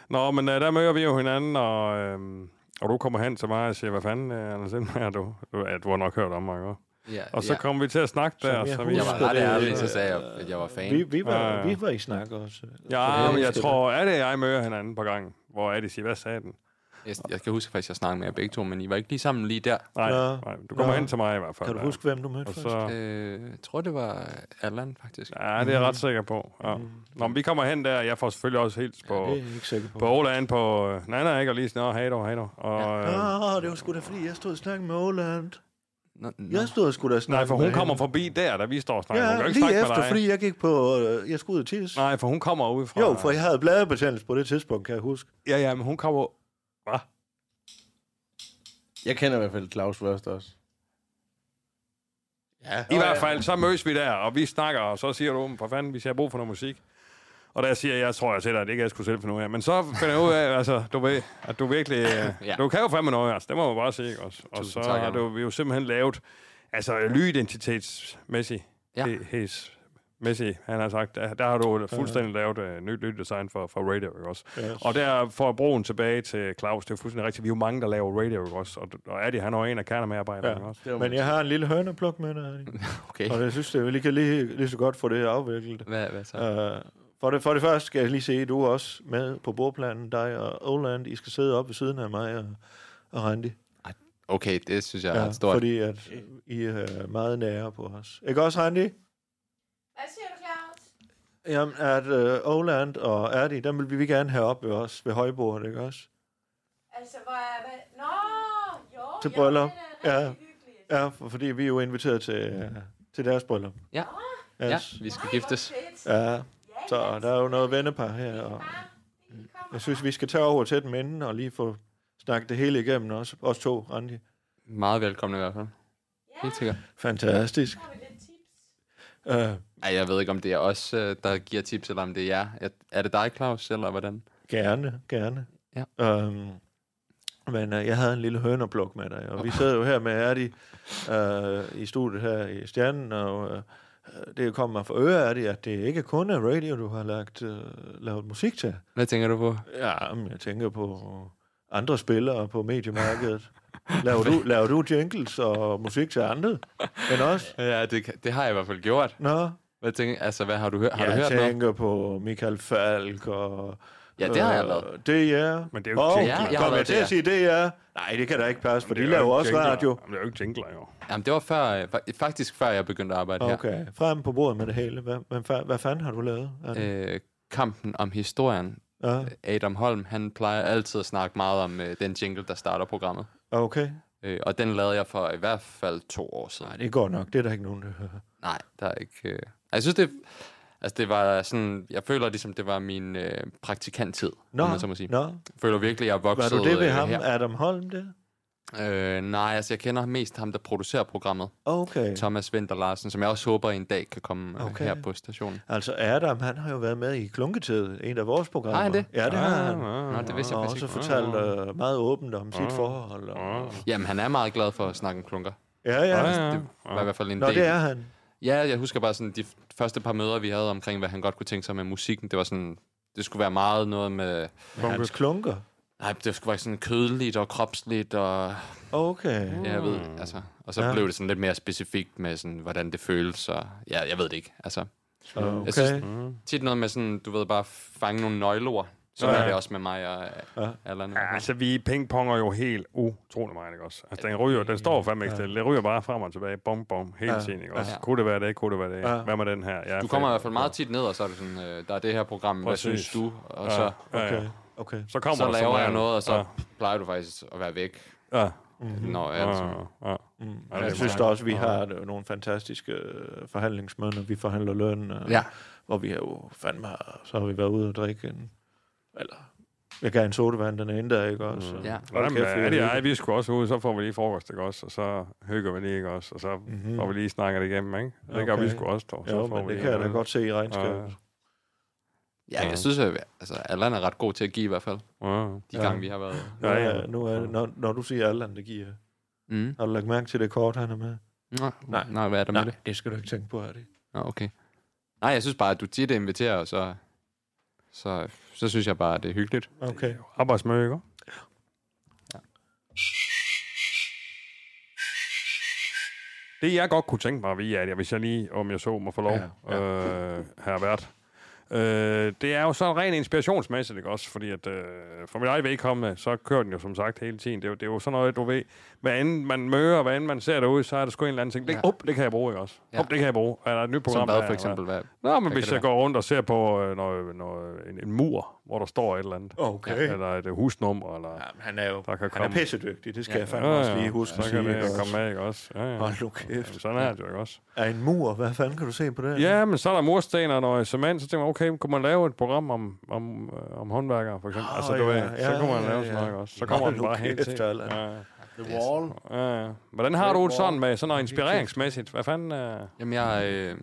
Speaker 4: Nå, men øh, der møder vi jo hinanden, og, øh, og du kommer hen til mig og siger, hvad fanden øh, Anders Lindberg er du? Du, ja, du har nok hørt om mig, ikke?
Speaker 8: Ja,
Speaker 4: Og så
Speaker 8: ja.
Speaker 4: kom vi til at snakke der. Så vi,
Speaker 8: Jeg var ret ærlig, så sagde jeg, at jeg var fan.
Speaker 3: Vi, vi, var,
Speaker 4: Ja.
Speaker 3: vi var i snak også.
Speaker 4: ja, men jeg
Speaker 3: det.
Speaker 4: tror, er det jeg møder hinanden på gangen? Hvor er det siger, hvad sagde den?
Speaker 8: Jeg, jeg kan huske faktisk, at jeg snakkede med jer begge to, men I var ikke lige sammen lige der.
Speaker 4: Nej,
Speaker 3: Nå.
Speaker 4: nej du kommer
Speaker 3: Nå.
Speaker 4: hen til mig i hvert fald.
Speaker 3: Kan du
Speaker 4: ja.
Speaker 3: huske, hvem du mødte
Speaker 4: Og
Speaker 3: først?
Speaker 4: så,
Speaker 8: Øh, jeg tror, det var Allan, faktisk.
Speaker 4: Ja, det er jeg ret sikker på. Ja. Nå, men vi kommer hen der, jeg får selvfølgelig også helt på,
Speaker 3: Det er jeg ikke sikker
Speaker 4: på
Speaker 3: på.
Speaker 4: Ola an på øh, Nana, ikke? Og lige sådan, "Nå, hej dog, hej dog. Og, øh,
Speaker 3: Nå, det var sgu da, fordi jeg stod og snakkede med Oland.
Speaker 8: Nå, nå.
Speaker 3: Jeg stod og skulle da snakke
Speaker 4: nej, for
Speaker 3: med
Speaker 4: hun
Speaker 3: hende.
Speaker 4: kommer forbi der, da vi står og snakker. hun kan jo
Speaker 3: Ja,
Speaker 4: ikke
Speaker 3: lige
Speaker 4: snakke
Speaker 3: efter,
Speaker 4: med dig.
Speaker 3: fordi jeg gik på... Øh, jeg skulle ud og tisse.
Speaker 4: Nej, for hun kommer udefra.
Speaker 3: Jo, for jeg havde bladebetændelse på det tidspunkt, kan jeg huske.
Speaker 4: Ja, ja, men hun kommer... Hvad?
Speaker 2: Jeg kender i hvert fald Claus først også.
Speaker 8: Ja.
Speaker 4: I hvert fald, så mødes vi der, og vi snakker, og så siger du, "Men for fanden, hvis jeg har brug for noget musik. Og der siger jeg, jeg tror, jeg sætter det ikke, jeg skulle selv finde ud af. Men så finder jeg ud af, altså, du ved, at du virkelig... ja.
Speaker 8: Ja.
Speaker 4: Du kan jo fandme noget, altså. Det må man bare sige, ikke også? Og så
Speaker 8: Tusind tak,
Speaker 4: har
Speaker 8: Emma.
Speaker 4: du, vi jo simpelthen lavet, altså, lydidentitetsmæssigt,
Speaker 8: Ja.
Speaker 4: he- his, Messi, han har sagt, der, der har du fuldstændig lavet uh, nyt lyddesign for, for radio, ikke også?
Speaker 3: Yes.
Speaker 4: Og der får jeg broen tilbage til Claus, det er jo fuldstændig rigtigt. Vi er jo mange, der laver radio, ikke også? Og, og Adi, han er jo en af kernemedarbejderne,
Speaker 3: Ja.
Speaker 4: ikke også?
Speaker 2: Det var
Speaker 3: Men jeg har en lille hønepluk med dig, Erling.
Speaker 8: Okay.
Speaker 3: og jeg synes, det er lige, kan lige, lige så godt få det afviklet.
Speaker 8: Hvad, hvad så?
Speaker 3: Uh, For det, for det første skal jeg lige se, at du er også med på bordplanen, dig og Oland. I skal sidde oppe ved siden af mig og, og Randy.
Speaker 8: Okay, det synes jeg er ret stort.
Speaker 3: fordi at I er meget nære på os. Ikke også, Randy?
Speaker 5: Hvad siger du, Claus?
Speaker 3: Jamen, at øh, Oland og Erdi, dem vil vi gerne have op ved os, ved højbordet, ikke også?
Speaker 5: Altså, hvor er... Hvad? Nå, jo.
Speaker 3: Til bryllup.
Speaker 5: Ja.
Speaker 3: Ja. Ja, for, fordi vi er jo inviteret til, øh, til deres bryllup.
Speaker 8: Ja. Ja,
Speaker 3: Yes.
Speaker 8: vi skal giftes.
Speaker 3: Ja. Så der er jo noget vennepar her, og jeg synes, vi skal tage over til den inden og lige få snakket det hele igennem, også, også to, Randi.
Speaker 8: Meget velkommen i hvert fald. Helt sikkert.
Speaker 3: Fantastisk. Øh,
Speaker 8: Ej, jeg ved ikke, om det er os, øh, der giver tips, eller om det er jer. Er- Er det dig, Claus, eller hvordan?
Speaker 3: Gerne, gerne.
Speaker 8: Ja.
Speaker 3: Øhm, men øh, jeg havde en lille hønerblok med dig, og vi sad jo her med Erdi øh, i studiet her i Stjernen, og øh, det kommer mig for øre, Erdi, at det ikke kun er radio, du har lagt, øh, lavet musik til.
Speaker 8: Hvad tænker du på?
Speaker 3: Ja, men jeg tænker på andre spillere på mediemarkedet. Laver du, laver du jingles og musik til andre end os?
Speaker 8: Ja, det, kan- det har jeg i hvert fald gjort.
Speaker 3: Nå,
Speaker 8: Hvad tænker, altså, hvad har du hørt? Har
Speaker 3: jeg
Speaker 8: du hørt noget?
Speaker 3: tænker på Michael Falk og...
Speaker 8: Ja, det har jeg
Speaker 3: øh,
Speaker 8: lavet.
Speaker 3: DR.
Speaker 4: Men det er jo
Speaker 3: og,
Speaker 4: ikke jingler.
Speaker 8: Ja, jeg har
Speaker 3: Kom jeg
Speaker 8: lavet
Speaker 3: til at
Speaker 8: DR.
Speaker 3: sige DR? Nej, det kan da ikke passe, for
Speaker 4: Det
Speaker 3: de
Speaker 4: er jo
Speaker 3: laver
Speaker 4: ikke
Speaker 3: også
Speaker 4: jingler.
Speaker 3: radio.
Speaker 4: Jamen, det er jo ikke jingler, jo.
Speaker 8: Jamen, det var før, øh, fa- faktisk før jeg begyndte at arbejde her.
Speaker 3: Okay, frem på bordet med det hele. Hvad, hvad, fa- hvad fanden har du lavet? Anne?
Speaker 8: Øh, kampen om historien.
Speaker 3: Ja,
Speaker 8: Adam Holm, han plejer altid at snakke meget om øh, den jingle, der starter programmet.
Speaker 3: okay.
Speaker 8: Øh, og den lavede jeg for i hvert fald to år siden.
Speaker 3: Nej, det går nok. Det er der ikke nogen, der hører.
Speaker 8: Nej, der er ikke... Øh... Jeg synes, det, altså, det var sådan... Jeg føler ligesom, det var min øh, praktikanttid,
Speaker 3: Nå,
Speaker 8: om man så må sige.
Speaker 3: nå.
Speaker 8: Jeg føler virkelig, jeg er
Speaker 3: Var
Speaker 8: vokset
Speaker 3: du det ved
Speaker 8: øh,
Speaker 3: ham,
Speaker 8: her.
Speaker 3: Adam Holm, det?
Speaker 8: Øh, nej, altså jeg kender mest ham, der producerer programmet.
Speaker 3: Okay.
Speaker 8: Thomas Vinter Larsen, som jeg også håber en dag kan komme okay.
Speaker 3: Okay.
Speaker 8: her på stationen.
Speaker 3: Altså Adam, han har jo været med i Klunketid, en af vores programmer.
Speaker 8: Har han det?
Speaker 3: Ja, det
Speaker 4: Ah,
Speaker 3: har han.
Speaker 8: Nå, det vidste jeg
Speaker 3: og
Speaker 8: faktisk
Speaker 3: også
Speaker 8: ikke.
Speaker 3: fortalt øh, meget åbent om sit forhold. Og...
Speaker 8: Jamen, han er meget glad for at snakke om klunker.
Speaker 3: Ja, ja.
Speaker 8: Det var i hvert fald en
Speaker 3: Nå,
Speaker 8: del.
Speaker 3: det er han.
Speaker 8: Ja, jeg husker bare sådan de f- første par møder, vi havde omkring, hvad han godt kunne tænke sig med musikken. Det var sådan... Det skulle være meget noget med...
Speaker 3: Men hans klunker.
Speaker 8: Nej, det skulle være sådan kødeligt og kropsligt og...
Speaker 3: Okay.
Speaker 8: Ja, jeg ved,
Speaker 4: Mm.
Speaker 8: altså. Og så
Speaker 3: Ja.
Speaker 8: ja. blev det sådan lidt mere specifikt med sådan, hvordan det føles, og ja, jeg ved det ikke. Altså,
Speaker 3: Okay.
Speaker 8: Jeg synes- tit noget med sådan, du ved, bare fange nogle nøgleord. Så ja. er det også med mig og ja. Allan.
Speaker 4: Ja, altså, vi pingponger jo helt utrolig meget, ikke også? Altså, den ryger, den står fandme ikke stille. Det ryger bare frem og tilbage, bom, bom, hele
Speaker 3: Ja.
Speaker 4: tiden, ikke også?
Speaker 8: Ja.
Speaker 4: Kunne det være det, kunne det være det?
Speaker 3: Ja.
Speaker 4: Hvad med den her? Ja,
Speaker 8: Du kommer i
Speaker 4: fedt.
Speaker 8: hvert fald meget tit ned, og så er det sådan, øh, der er det her program, hvad
Speaker 4: Præcis.
Speaker 8: synes du? Og
Speaker 4: Ja,
Speaker 8: så,
Speaker 4: ja, ja.
Speaker 3: Okay. okay.
Speaker 4: Så kommer
Speaker 8: så
Speaker 4: der
Speaker 8: laver jeg
Speaker 4: regel.
Speaker 8: noget, og så
Speaker 4: Ja,
Speaker 8: plejer du faktisk at være væk.
Speaker 4: ja,
Speaker 8: Nå, ja,
Speaker 4: ja,
Speaker 8: altså.
Speaker 4: ja.
Speaker 3: Mm.
Speaker 4: Ja, det er
Speaker 3: Mm-hmm. Jeg synes
Speaker 4: meget-
Speaker 3: da også, vi har øh, nogle fantastiske øh, forhandlingsmøder, når vi forhandler løn, øh,
Speaker 8: Ja.
Speaker 3: hvor vi har jo fandme, så har vi været ude og drikke en, eller jeg gav en sodavand den ene dag, ikke også?
Speaker 8: Ja.
Speaker 3: Hold
Speaker 4: Jamen,
Speaker 3: kæft, vi
Speaker 4: er
Speaker 3: har
Speaker 4: det ej,
Speaker 3: hygget.
Speaker 4: vi skulle også ud, så får vi lige frokost, ikke også? Og så hygger vi lige, ikke også? Og så
Speaker 3: Mhm.
Speaker 4: får vi lige snakket det igennem, ikke? Det gør
Speaker 3: Okay.
Speaker 4: vi sgu også, dog. Så
Speaker 3: Jo,
Speaker 4: får
Speaker 3: men
Speaker 4: vi
Speaker 3: det
Speaker 4: lige
Speaker 3: kan jeg da
Speaker 4: noget.
Speaker 3: godt se i
Speaker 4: Ja.
Speaker 3: regnskabet.
Speaker 8: ja, jeg synes, at altså, Allan er ret god til at give i hvert fald,
Speaker 4: Ja.
Speaker 8: de gange vi har været.
Speaker 3: Nu
Speaker 4: Ja, ja.
Speaker 3: er, nu er, når, når du siger Allan, det giver
Speaker 8: Mm.
Speaker 3: Har du lagt mærke til det kort, han er med?
Speaker 8: Nå,
Speaker 3: Nej.
Speaker 8: nej. nej, hvad er der med det?
Speaker 3: det skal du ikke tænke på, er det?
Speaker 8: Nå, okay. Nej, jeg synes bare, at du tit inviterer, og så, så, så synes jeg bare, at det er hyggeligt.
Speaker 3: Okay.
Speaker 4: Arbejdsmøde, ikke? Det, jeg godt kunne tænke mig at vide, at jeg, hvis jeg lige, om jeg så må få lov,
Speaker 3: Ja,
Speaker 4: ja, ja. Øh, her vært, øh, det er jo så rent inspirationsmæssigt, ikke også? Fordi at, øh, for mit eget vedkommende, så kører den jo som sagt hele tiden. Det er jo, det er jo sådan noget, du ved, hvad end man møder, hvad end man ser derude, så er der sgu en eller anden ting. Det,
Speaker 8: Ja.
Speaker 4: op, det kan jeg bruge, ikke også?
Speaker 8: Ja.
Speaker 4: Op, det kan jeg bruge. Er der et nyt program?
Speaker 8: Som hvad
Speaker 4: der
Speaker 8: for
Speaker 4: er-
Speaker 8: eksempel? Hvad?
Speaker 4: Nå, men
Speaker 8: Hvad
Speaker 4: hvis
Speaker 8: kan
Speaker 4: jeg
Speaker 8: det
Speaker 4: går rundt og ser på øh, noget, noget, en, en mur, hvor der står et eller andet.
Speaker 3: Okay.
Speaker 4: Eller et øh, husnummer, eller... Ja.
Speaker 3: Jamen, han er jo
Speaker 4: Der kan
Speaker 3: han er
Speaker 4: komme-
Speaker 3: pissedygtig, det skal
Speaker 8: Ja.
Speaker 3: jeg fandme også lige huske
Speaker 4: så
Speaker 3: at
Speaker 4: kan
Speaker 3: sige.
Speaker 4: det
Speaker 3: ikke
Speaker 4: komme
Speaker 3: også?
Speaker 4: med, ikke også? Ja, ja.
Speaker 3: Hold nu kæft.
Speaker 4: Jamen, sådan er det jo ikke også.
Speaker 3: Er en mur, hvad fanden kan du se på det?
Speaker 4: Ja, men så er der mursten og noget cement, så tænker man, okay, kunne man lave et program om, om, øh, om håndværkere, for eksempel?
Speaker 3: Åh,
Speaker 4: Oh, altså, du
Speaker 3: ja,
Speaker 4: ja, ved, så
Speaker 3: ja,
Speaker 4: kunne man
Speaker 3: ja,
Speaker 4: lave
Speaker 3: ja.
Speaker 4: sådan noget, ikke også? Så
Speaker 3: Hold
Speaker 4: kommer den
Speaker 3: nu
Speaker 4: bare
Speaker 3: kæft,
Speaker 4: helt til.
Speaker 3: Allan.
Speaker 4: Ja, ja.
Speaker 2: The Wall.
Speaker 4: ja, ja. Hvordan har du det sådan med sådan noget inspireringsmæssigt? Hvad fanden? Øh?
Speaker 8: Jamen, jeg, øh,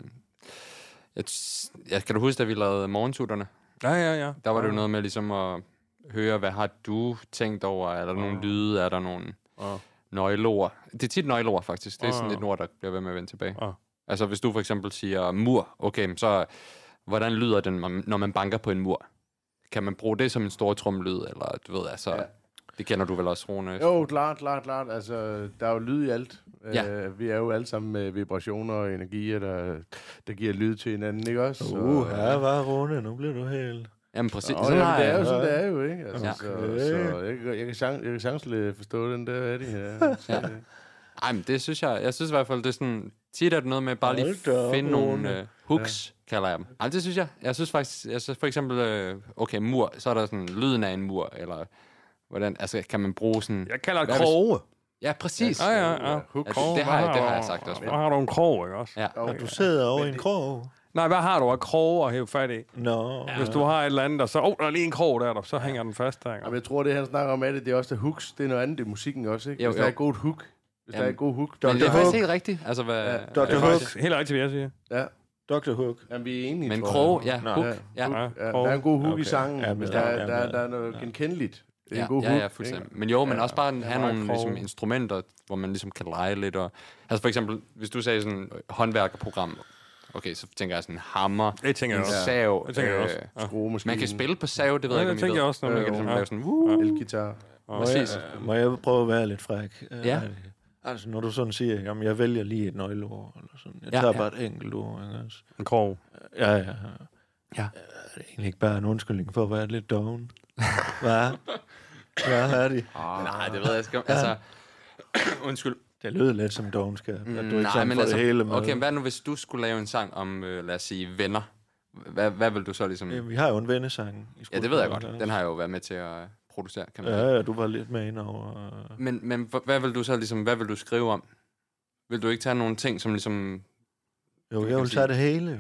Speaker 8: jeg, t- jeg... Kan du huske, da vi lavede morgensutterne?
Speaker 4: Ja, ja, ja.
Speaker 8: Der var
Speaker 4: ja.
Speaker 8: det jo
Speaker 2: Ah.
Speaker 8: noget med ligesom at høre, hvad har du tænkt over? Er der
Speaker 2: Ah.
Speaker 8: nogle lyde? Er der nogle
Speaker 4: Ja.
Speaker 8: nøgleord? Det er tit nøgleord, faktisk. Det er sådan
Speaker 2: Ah.
Speaker 4: Ja.
Speaker 8: et ord, der bliver ved med at vende tilbage.
Speaker 4: Ja.
Speaker 8: Altså, hvis du for eksempel siger mur, okay, men så hvordan lyder den, når man banker på en mur? Kan man bruge det som en stor trumlyd, eller du ved, altså... Det kender du vel også, Rune?
Speaker 2: Jo, klart, klart, klart. Altså, der er jo lyd i alt.
Speaker 8: Ja.
Speaker 2: Øh, vi er jo alle sammen med vibrationer og energier, der, der giver lyd til hinanden, ikke også? Så-
Speaker 3: Uh, ja, var Rune, nu bliver du helt...
Speaker 8: Jamen præcis.
Speaker 2: Nå,
Speaker 8: Sådan
Speaker 2: jamen,
Speaker 8: har
Speaker 2: det er
Speaker 8: jeg
Speaker 2: jo
Speaker 8: det.
Speaker 2: sådan, det er jo, ikke? Altså,
Speaker 8: Ja.
Speaker 2: Så, så jeg, kan- jeg, kan chance, jeg kan chancele forstå den der, er det her.
Speaker 8: Ja. Ej, men det synes jeg, jeg synes i hvert fald, det er sådan, tit er det noget med bare lige
Speaker 3: Hold da op,
Speaker 8: finde
Speaker 3: Rune.
Speaker 8: nogle øh, hooks, ja. kalder jeg dem. Ej, det synes jeg. Jeg synes faktisk, jeg synes for eksempel, øh, okay, mur, så er der sådan lyden af en mur, eller hvordan, altså kan man bruge sådan...
Speaker 4: Jeg kalder det
Speaker 8: Hvad hvis-
Speaker 4: kroge.
Speaker 8: Ja, præcis.
Speaker 4: Ja,
Speaker 8: Altså,
Speaker 4: ja, ja.
Speaker 8: det- det har jeg- det har jeg sagt også.
Speaker 4: Hvad har du en krog, ikke også?
Speaker 8: Ja.
Speaker 3: Og du sidder over i en krog.
Speaker 4: Nej, hvad har du af kroge at hæve fat i?
Speaker 3: Nå,
Speaker 4: Hvis du har et eller andet, og så... Åh, oh, der er lige en krog der, der, så hænger den fast der. ikke?
Speaker 2: Jamen, jeg tror, det han snakker om, er det, det er også der hooks. Det er noget andet, det er musikken også, ikke?
Speaker 8: Jo,
Speaker 2: Hvis der
Speaker 8: jo.
Speaker 2: er et godt hook. Hvis der er et
Speaker 8: Jamen,
Speaker 2: godt hook.
Speaker 8: Men det
Speaker 3: Dr.
Speaker 8: er faktisk
Speaker 3: Hook.
Speaker 8: helt rigtigt. Altså, hvad,
Speaker 2: Ja.
Speaker 8: hvad
Speaker 3: Dr.
Speaker 8: jeg
Speaker 3: Hook.
Speaker 8: faktisk-
Speaker 4: Helt rigtigt, hvad jeg siger.
Speaker 2: Ja.
Speaker 3: Dr. Hook.
Speaker 2: Jamen, vi er enige,
Speaker 8: Men
Speaker 2: tror jeg.
Speaker 8: krog, ja,
Speaker 3: Nå.
Speaker 8: hook,
Speaker 2: Ja.
Speaker 8: ja.
Speaker 4: Ja,
Speaker 2: Ja,
Speaker 4: krog.
Speaker 2: der er en god hook okay. i
Speaker 3: Okay.
Speaker 2: sangen, ja,
Speaker 3: Jamen,
Speaker 2: hvis
Speaker 3: ja,
Speaker 2: der, ja,
Speaker 3: jamen,
Speaker 2: der,
Speaker 3: ja.
Speaker 2: der, der er noget genkendeligt. Det er
Speaker 8: Ja,
Speaker 2: en god
Speaker 8: ja,
Speaker 2: hook.
Speaker 8: ja, fuldstændig. Men jo, men også bare have
Speaker 4: meget
Speaker 8: nogle
Speaker 4: kroge.
Speaker 8: ligesom, instrumenter, hvor man ligesom kan lege lidt. Og, altså for eksempel, hvis du sagde sådan øh, håndværkerprogram, okay, så tænker jeg sådan en hammer,
Speaker 4: Det tænker
Speaker 8: en
Speaker 4: jeg også.
Speaker 8: sav.
Speaker 4: Det tænker jeg også.
Speaker 8: øh,
Speaker 4: Ja.
Speaker 2: Skruemaskinen,
Speaker 8: Man kan spille på sav, det ved
Speaker 4: Ja,
Speaker 8: jeg
Speaker 4: det
Speaker 8: ikke,
Speaker 4: tænker
Speaker 8: om I
Speaker 4: jeg
Speaker 8: ved.
Speaker 4: også, når
Speaker 8: Man
Speaker 4: man-
Speaker 8: kan ligesom
Speaker 4: ja.
Speaker 8: lave sådan, uh,
Speaker 2: elgitar.
Speaker 8: præcis.
Speaker 3: Må jeg prøve at være lidt fræk? Øh,
Speaker 8: Ja.
Speaker 3: Altså, når du sådan siger, jamen, jeg vælger lige et nøgleord, eller sådan. Jeg
Speaker 8: Ja,
Speaker 3: ja, tager
Speaker 8: ja.
Speaker 3: ja. bare et enkelt ord, ikke også?
Speaker 4: En krog.
Speaker 3: Ja, ja.
Speaker 8: Ja.
Speaker 3: Er det egentlig ikke bare en undskyldning for at være lidt doven? Hvad? Hvad er det?
Speaker 8: Ah. Nej, det ved jeg ikke. om- Altså, undskyld.
Speaker 3: Det lyder lidt som dovenskab. Mm,
Speaker 8: Mm,
Speaker 3: du ikke sådan får det hele med.
Speaker 8: okay, hvad nu, hvis du skulle lave en sang om, øh, lad os sige, venner? Hvad, hvad vil du så ligesom...
Speaker 3: Jamen, Øh, Vi har jo en vennesang. i
Speaker 8: Ja, det ved jeg godt.
Speaker 3: skolen.
Speaker 8: Den har jeg jo været med til at øh, producere, kan man sige.
Speaker 3: Ja, ja, du var lidt med ind over... øh,
Speaker 8: Men, men h- hvad vil du så ligesom, hvad vil du skrive om? Vil du ikke tage nogle ting, som ligesom...
Speaker 3: Jo,
Speaker 8: kan
Speaker 3: jeg vil
Speaker 8: sige-
Speaker 3: tage det hele, jo.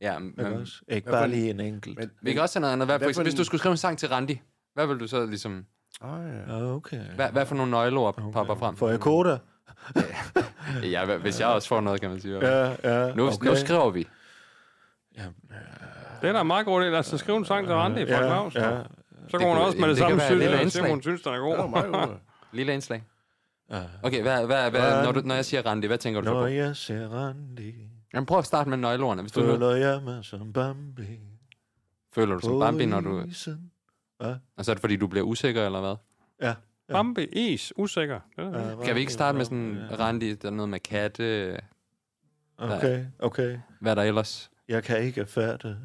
Speaker 8: Ja, men,
Speaker 3: Ikke, også? ikke
Speaker 2: Hvad for
Speaker 3: bare
Speaker 2: en-
Speaker 3: lige en enkelt.
Speaker 2: Men,
Speaker 8: vi kan også tage noget andet. Hvad, for
Speaker 2: Hvad for
Speaker 8: eksempel, hvis
Speaker 2: en-
Speaker 8: du skulle skrive en sang til Randi, hvad vil du så ligesom...
Speaker 2: oh, ja.
Speaker 3: Ja, Okay.
Speaker 8: Hvad, hvad for nogle nøgleord okay. popper frem? Mm.
Speaker 3: Får jeg koder?
Speaker 8: Ja, hva- hvis jeg også får noget, kan man sige.
Speaker 3: Ja, ja.
Speaker 8: Nu, okay. nu skriver vi.
Speaker 4: Det er da en meget god del. Altså, skriv en sang til Randi fra Claus.
Speaker 3: ja, ja.
Speaker 4: Så går hun
Speaker 8: kunne-
Speaker 4: også med det,
Speaker 8: det
Speaker 4: samme
Speaker 8: kan være et
Speaker 4: synes,
Speaker 8: lille
Speaker 4: og siger,
Speaker 8: indslag.
Speaker 4: hun synes, den er god.
Speaker 2: Det var meget godt.
Speaker 8: Lille indslag.
Speaker 3: Ja.
Speaker 8: Okay, hvad, hvad, hvad,
Speaker 3: Hvad-
Speaker 8: når, du, når jeg siger Randi, hvad tænker du så
Speaker 3: Når
Speaker 8: på?
Speaker 3: jeg ser Randi,
Speaker 8: Jamen, prøv at starte med nøgleordene. Hvis du nu
Speaker 3: føler jeg mig som Bambi.
Speaker 8: føler du som
Speaker 3: på
Speaker 8: Bambi, når du...
Speaker 3: isen.
Speaker 8: Og så er det, fordi du bliver usikker, eller hvad?
Speaker 3: Ja.
Speaker 4: Bambi, is, usikker. Det er da-
Speaker 3: ja,
Speaker 8: Kan vi ikke starte med sådan,
Speaker 3: Bambi, ja.
Speaker 8: Randi, der er noget med katte,
Speaker 3: Okay, okay.
Speaker 8: hvad er der ellers?
Speaker 3: Jeg kan ikke fatte.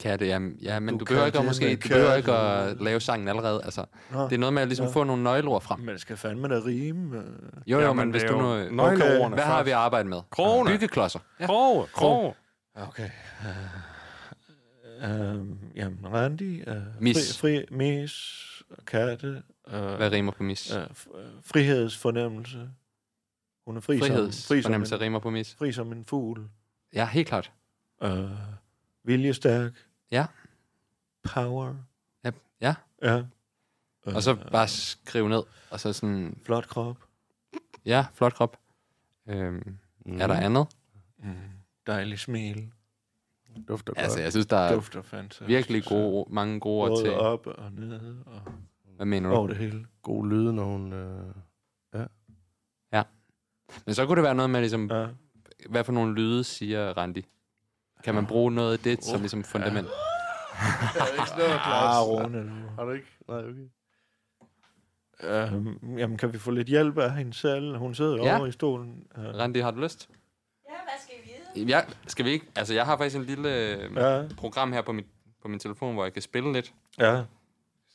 Speaker 8: Katte, ja, ja men
Speaker 3: Du
Speaker 8: du, du behøver
Speaker 3: kan
Speaker 8: ikke at,
Speaker 3: det
Speaker 8: måske,
Speaker 3: med
Speaker 8: du behøver ikke
Speaker 3: katte.
Speaker 8: at lave sangen allerede. Altså,
Speaker 3: Nå,
Speaker 8: det er noget med at ligesom
Speaker 3: Nå.
Speaker 8: få nogle nøgleord frem.
Speaker 3: Man skal fandme da rime.
Speaker 8: Jo, jo,
Speaker 4: Jamen,
Speaker 8: men hvis
Speaker 4: det
Speaker 8: du
Speaker 4: er
Speaker 8: nu...
Speaker 4: jo
Speaker 8: Okay,
Speaker 4: nøgleordene
Speaker 8: hvad har
Speaker 4: først.
Speaker 8: vi at arbejde med?
Speaker 4: Krogene.
Speaker 8: Byggeklodser. Ja.
Speaker 4: Kroge, kroge.
Speaker 3: Okay. Uh, jamen, Randi. Uh,
Speaker 8: Mis.
Speaker 3: Fri, fri, mis. Katte. Uh,
Speaker 8: Hvad rimer på mis?
Speaker 3: Uh, frihedsfornemmelse. Hun er fri, som, fri, som, en,
Speaker 8: Frihedsfornemmelse rimer på mis.
Speaker 3: fri som en fugl.
Speaker 8: Ja, helt klart.
Speaker 3: Uh, viljestærk.
Speaker 8: Ja.
Speaker 3: Power.
Speaker 8: Ja, ja.
Speaker 3: Ja. Uh,
Speaker 8: Og så bare skrive ned. Og så sådan,
Speaker 3: flot krop.
Speaker 8: ja, flot krop. Øhm, mm. Er der andet?
Speaker 3: Mm, dejlig smil.
Speaker 2: Dufter godt.
Speaker 8: Altså, jeg synes, der er
Speaker 3: Dufter fantastisk.
Speaker 8: virkelig gode, mange gode ord til.
Speaker 3: Både op og ned og
Speaker 8: Hvad mener
Speaker 3: over
Speaker 8: du?
Speaker 3: det hele.
Speaker 2: God lyde, når hun... Øh...
Speaker 8: Men så kunne det være noget med, ligesom,
Speaker 3: Ja.
Speaker 8: hvad for nogle lyde siger Randi? Kan man bruge noget af det som ligesom fundament?
Speaker 3: Ah, Rune, du.
Speaker 2: Har du ikke? Nej, okay.
Speaker 3: Øhm, jamen, kan vi få lidt hjælp af hende selv? Hun sidder
Speaker 8: Ja.
Speaker 3: ja. over i stolen. Øh,
Speaker 8: Randi, har du lyst?
Speaker 7: Ja, hvad skal vi vide?
Speaker 8: Ja, skal vi ikke? Altså, jeg har faktisk en lille øh,
Speaker 3: Ja,
Speaker 8: program her på min, på min telefon, hvor jeg kan spille lidt.
Speaker 3: ja.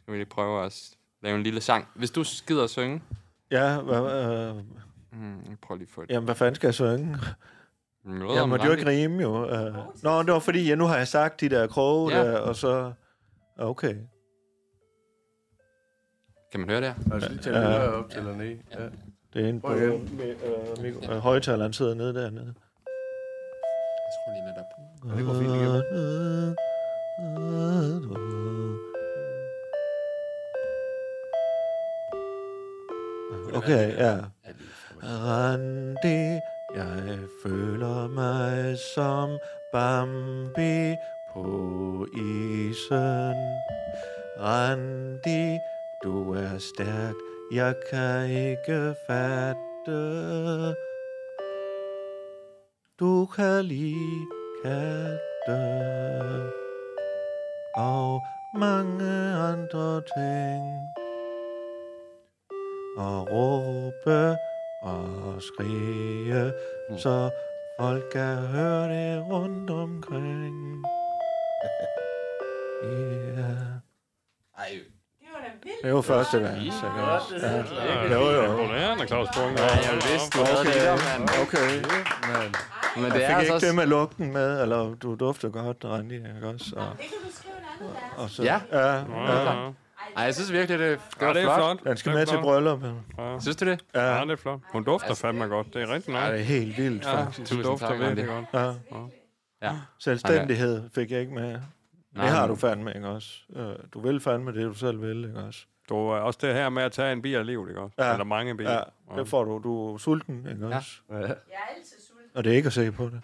Speaker 8: Skal vi lige prøve at s- lave en lille sang. Hvis du skider at synge...
Speaker 3: Ja, hva, øh,
Speaker 8: Mm, prøv lige at få et...
Speaker 3: jamen, hvad fanden skal jeg synge?
Speaker 8: Møder
Speaker 3: Jeg
Speaker 8: om
Speaker 3: måtte jo
Speaker 8: Randi.
Speaker 3: ikke rime, jo. Øh. Nå, det var fordi, ja, nu har jeg sagt de der kroge
Speaker 8: Ja.
Speaker 3: ja. der, og så... Okay.
Speaker 8: Kan man høre det her?
Speaker 2: Altså, lige tage
Speaker 3: Ja.
Speaker 2: ja. op til eller ned. Ja.
Speaker 3: Det er en på
Speaker 2: Prøv igen.
Speaker 3: øh, mikro- øh, højtaleren sidder nede dernede.
Speaker 8: Jeg tror lige lidt op.
Speaker 2: Og det går fint igennem.
Speaker 3: Okay, ja. Randi, jeg føler mig som Bambi på isen. Randi, du er stærk, jeg kan ikke fatte. Du kan lide katte og mange andre ting. og råbe og skrige,
Speaker 4: Mm.
Speaker 3: så folk kan høre det rundt omkring. Yeah. Det var første verden, sikkert.
Speaker 4: Ja, jo, jo. Moderne Claus Bunker. Ja, jeg vidste
Speaker 8: Okay. okay. Men, men det
Speaker 3: Jeg
Speaker 8: er
Speaker 3: fik
Speaker 8: altså
Speaker 3: ikke det
Speaker 8: også...
Speaker 3: med lugten med, eller du dufter godt, Randi, ikke også? Og,
Speaker 7: Det kan du skrive en anden vers.
Speaker 3: og så,
Speaker 8: Ja.
Speaker 3: ja,
Speaker 4: Ja,
Speaker 3: ja.
Speaker 4: ja.
Speaker 8: Ej, jeg synes virkelig, det, det
Speaker 4: ja,
Speaker 8: var
Speaker 4: det er flot.
Speaker 3: Den skal
Speaker 4: Det er
Speaker 3: med til
Speaker 4: flot.
Speaker 3: brylluppet.
Speaker 8: Synes du det?
Speaker 4: Ja, det er flot. Hun dufter fandme godt. Det er rigtig
Speaker 3: Ja,
Speaker 4: nice.
Speaker 3: det er helt vildt,
Speaker 4: Ja,
Speaker 3: faktisk.
Speaker 4: hun
Speaker 8: Tusind
Speaker 4: dufter
Speaker 8: tak,
Speaker 4: virkelig
Speaker 8: Randi.
Speaker 4: godt.
Speaker 3: Ja.
Speaker 8: Ja.
Speaker 3: Selvstændighed fik jeg ikke med.
Speaker 8: Nej,
Speaker 3: Det har
Speaker 8: men-
Speaker 3: du fandme, ikke også? Øh, Du vil fandme det, du selv vil, ikke også?
Speaker 4: Du er også det her med at tage en bil af livet, ikke også?
Speaker 3: Ja.
Speaker 4: Eller mange biler.
Speaker 3: Ja, det får du. Du er sulten, ikke
Speaker 8: Ja.
Speaker 3: også?
Speaker 7: Jeg er altid sulten.
Speaker 3: Og det er ikke at se på det.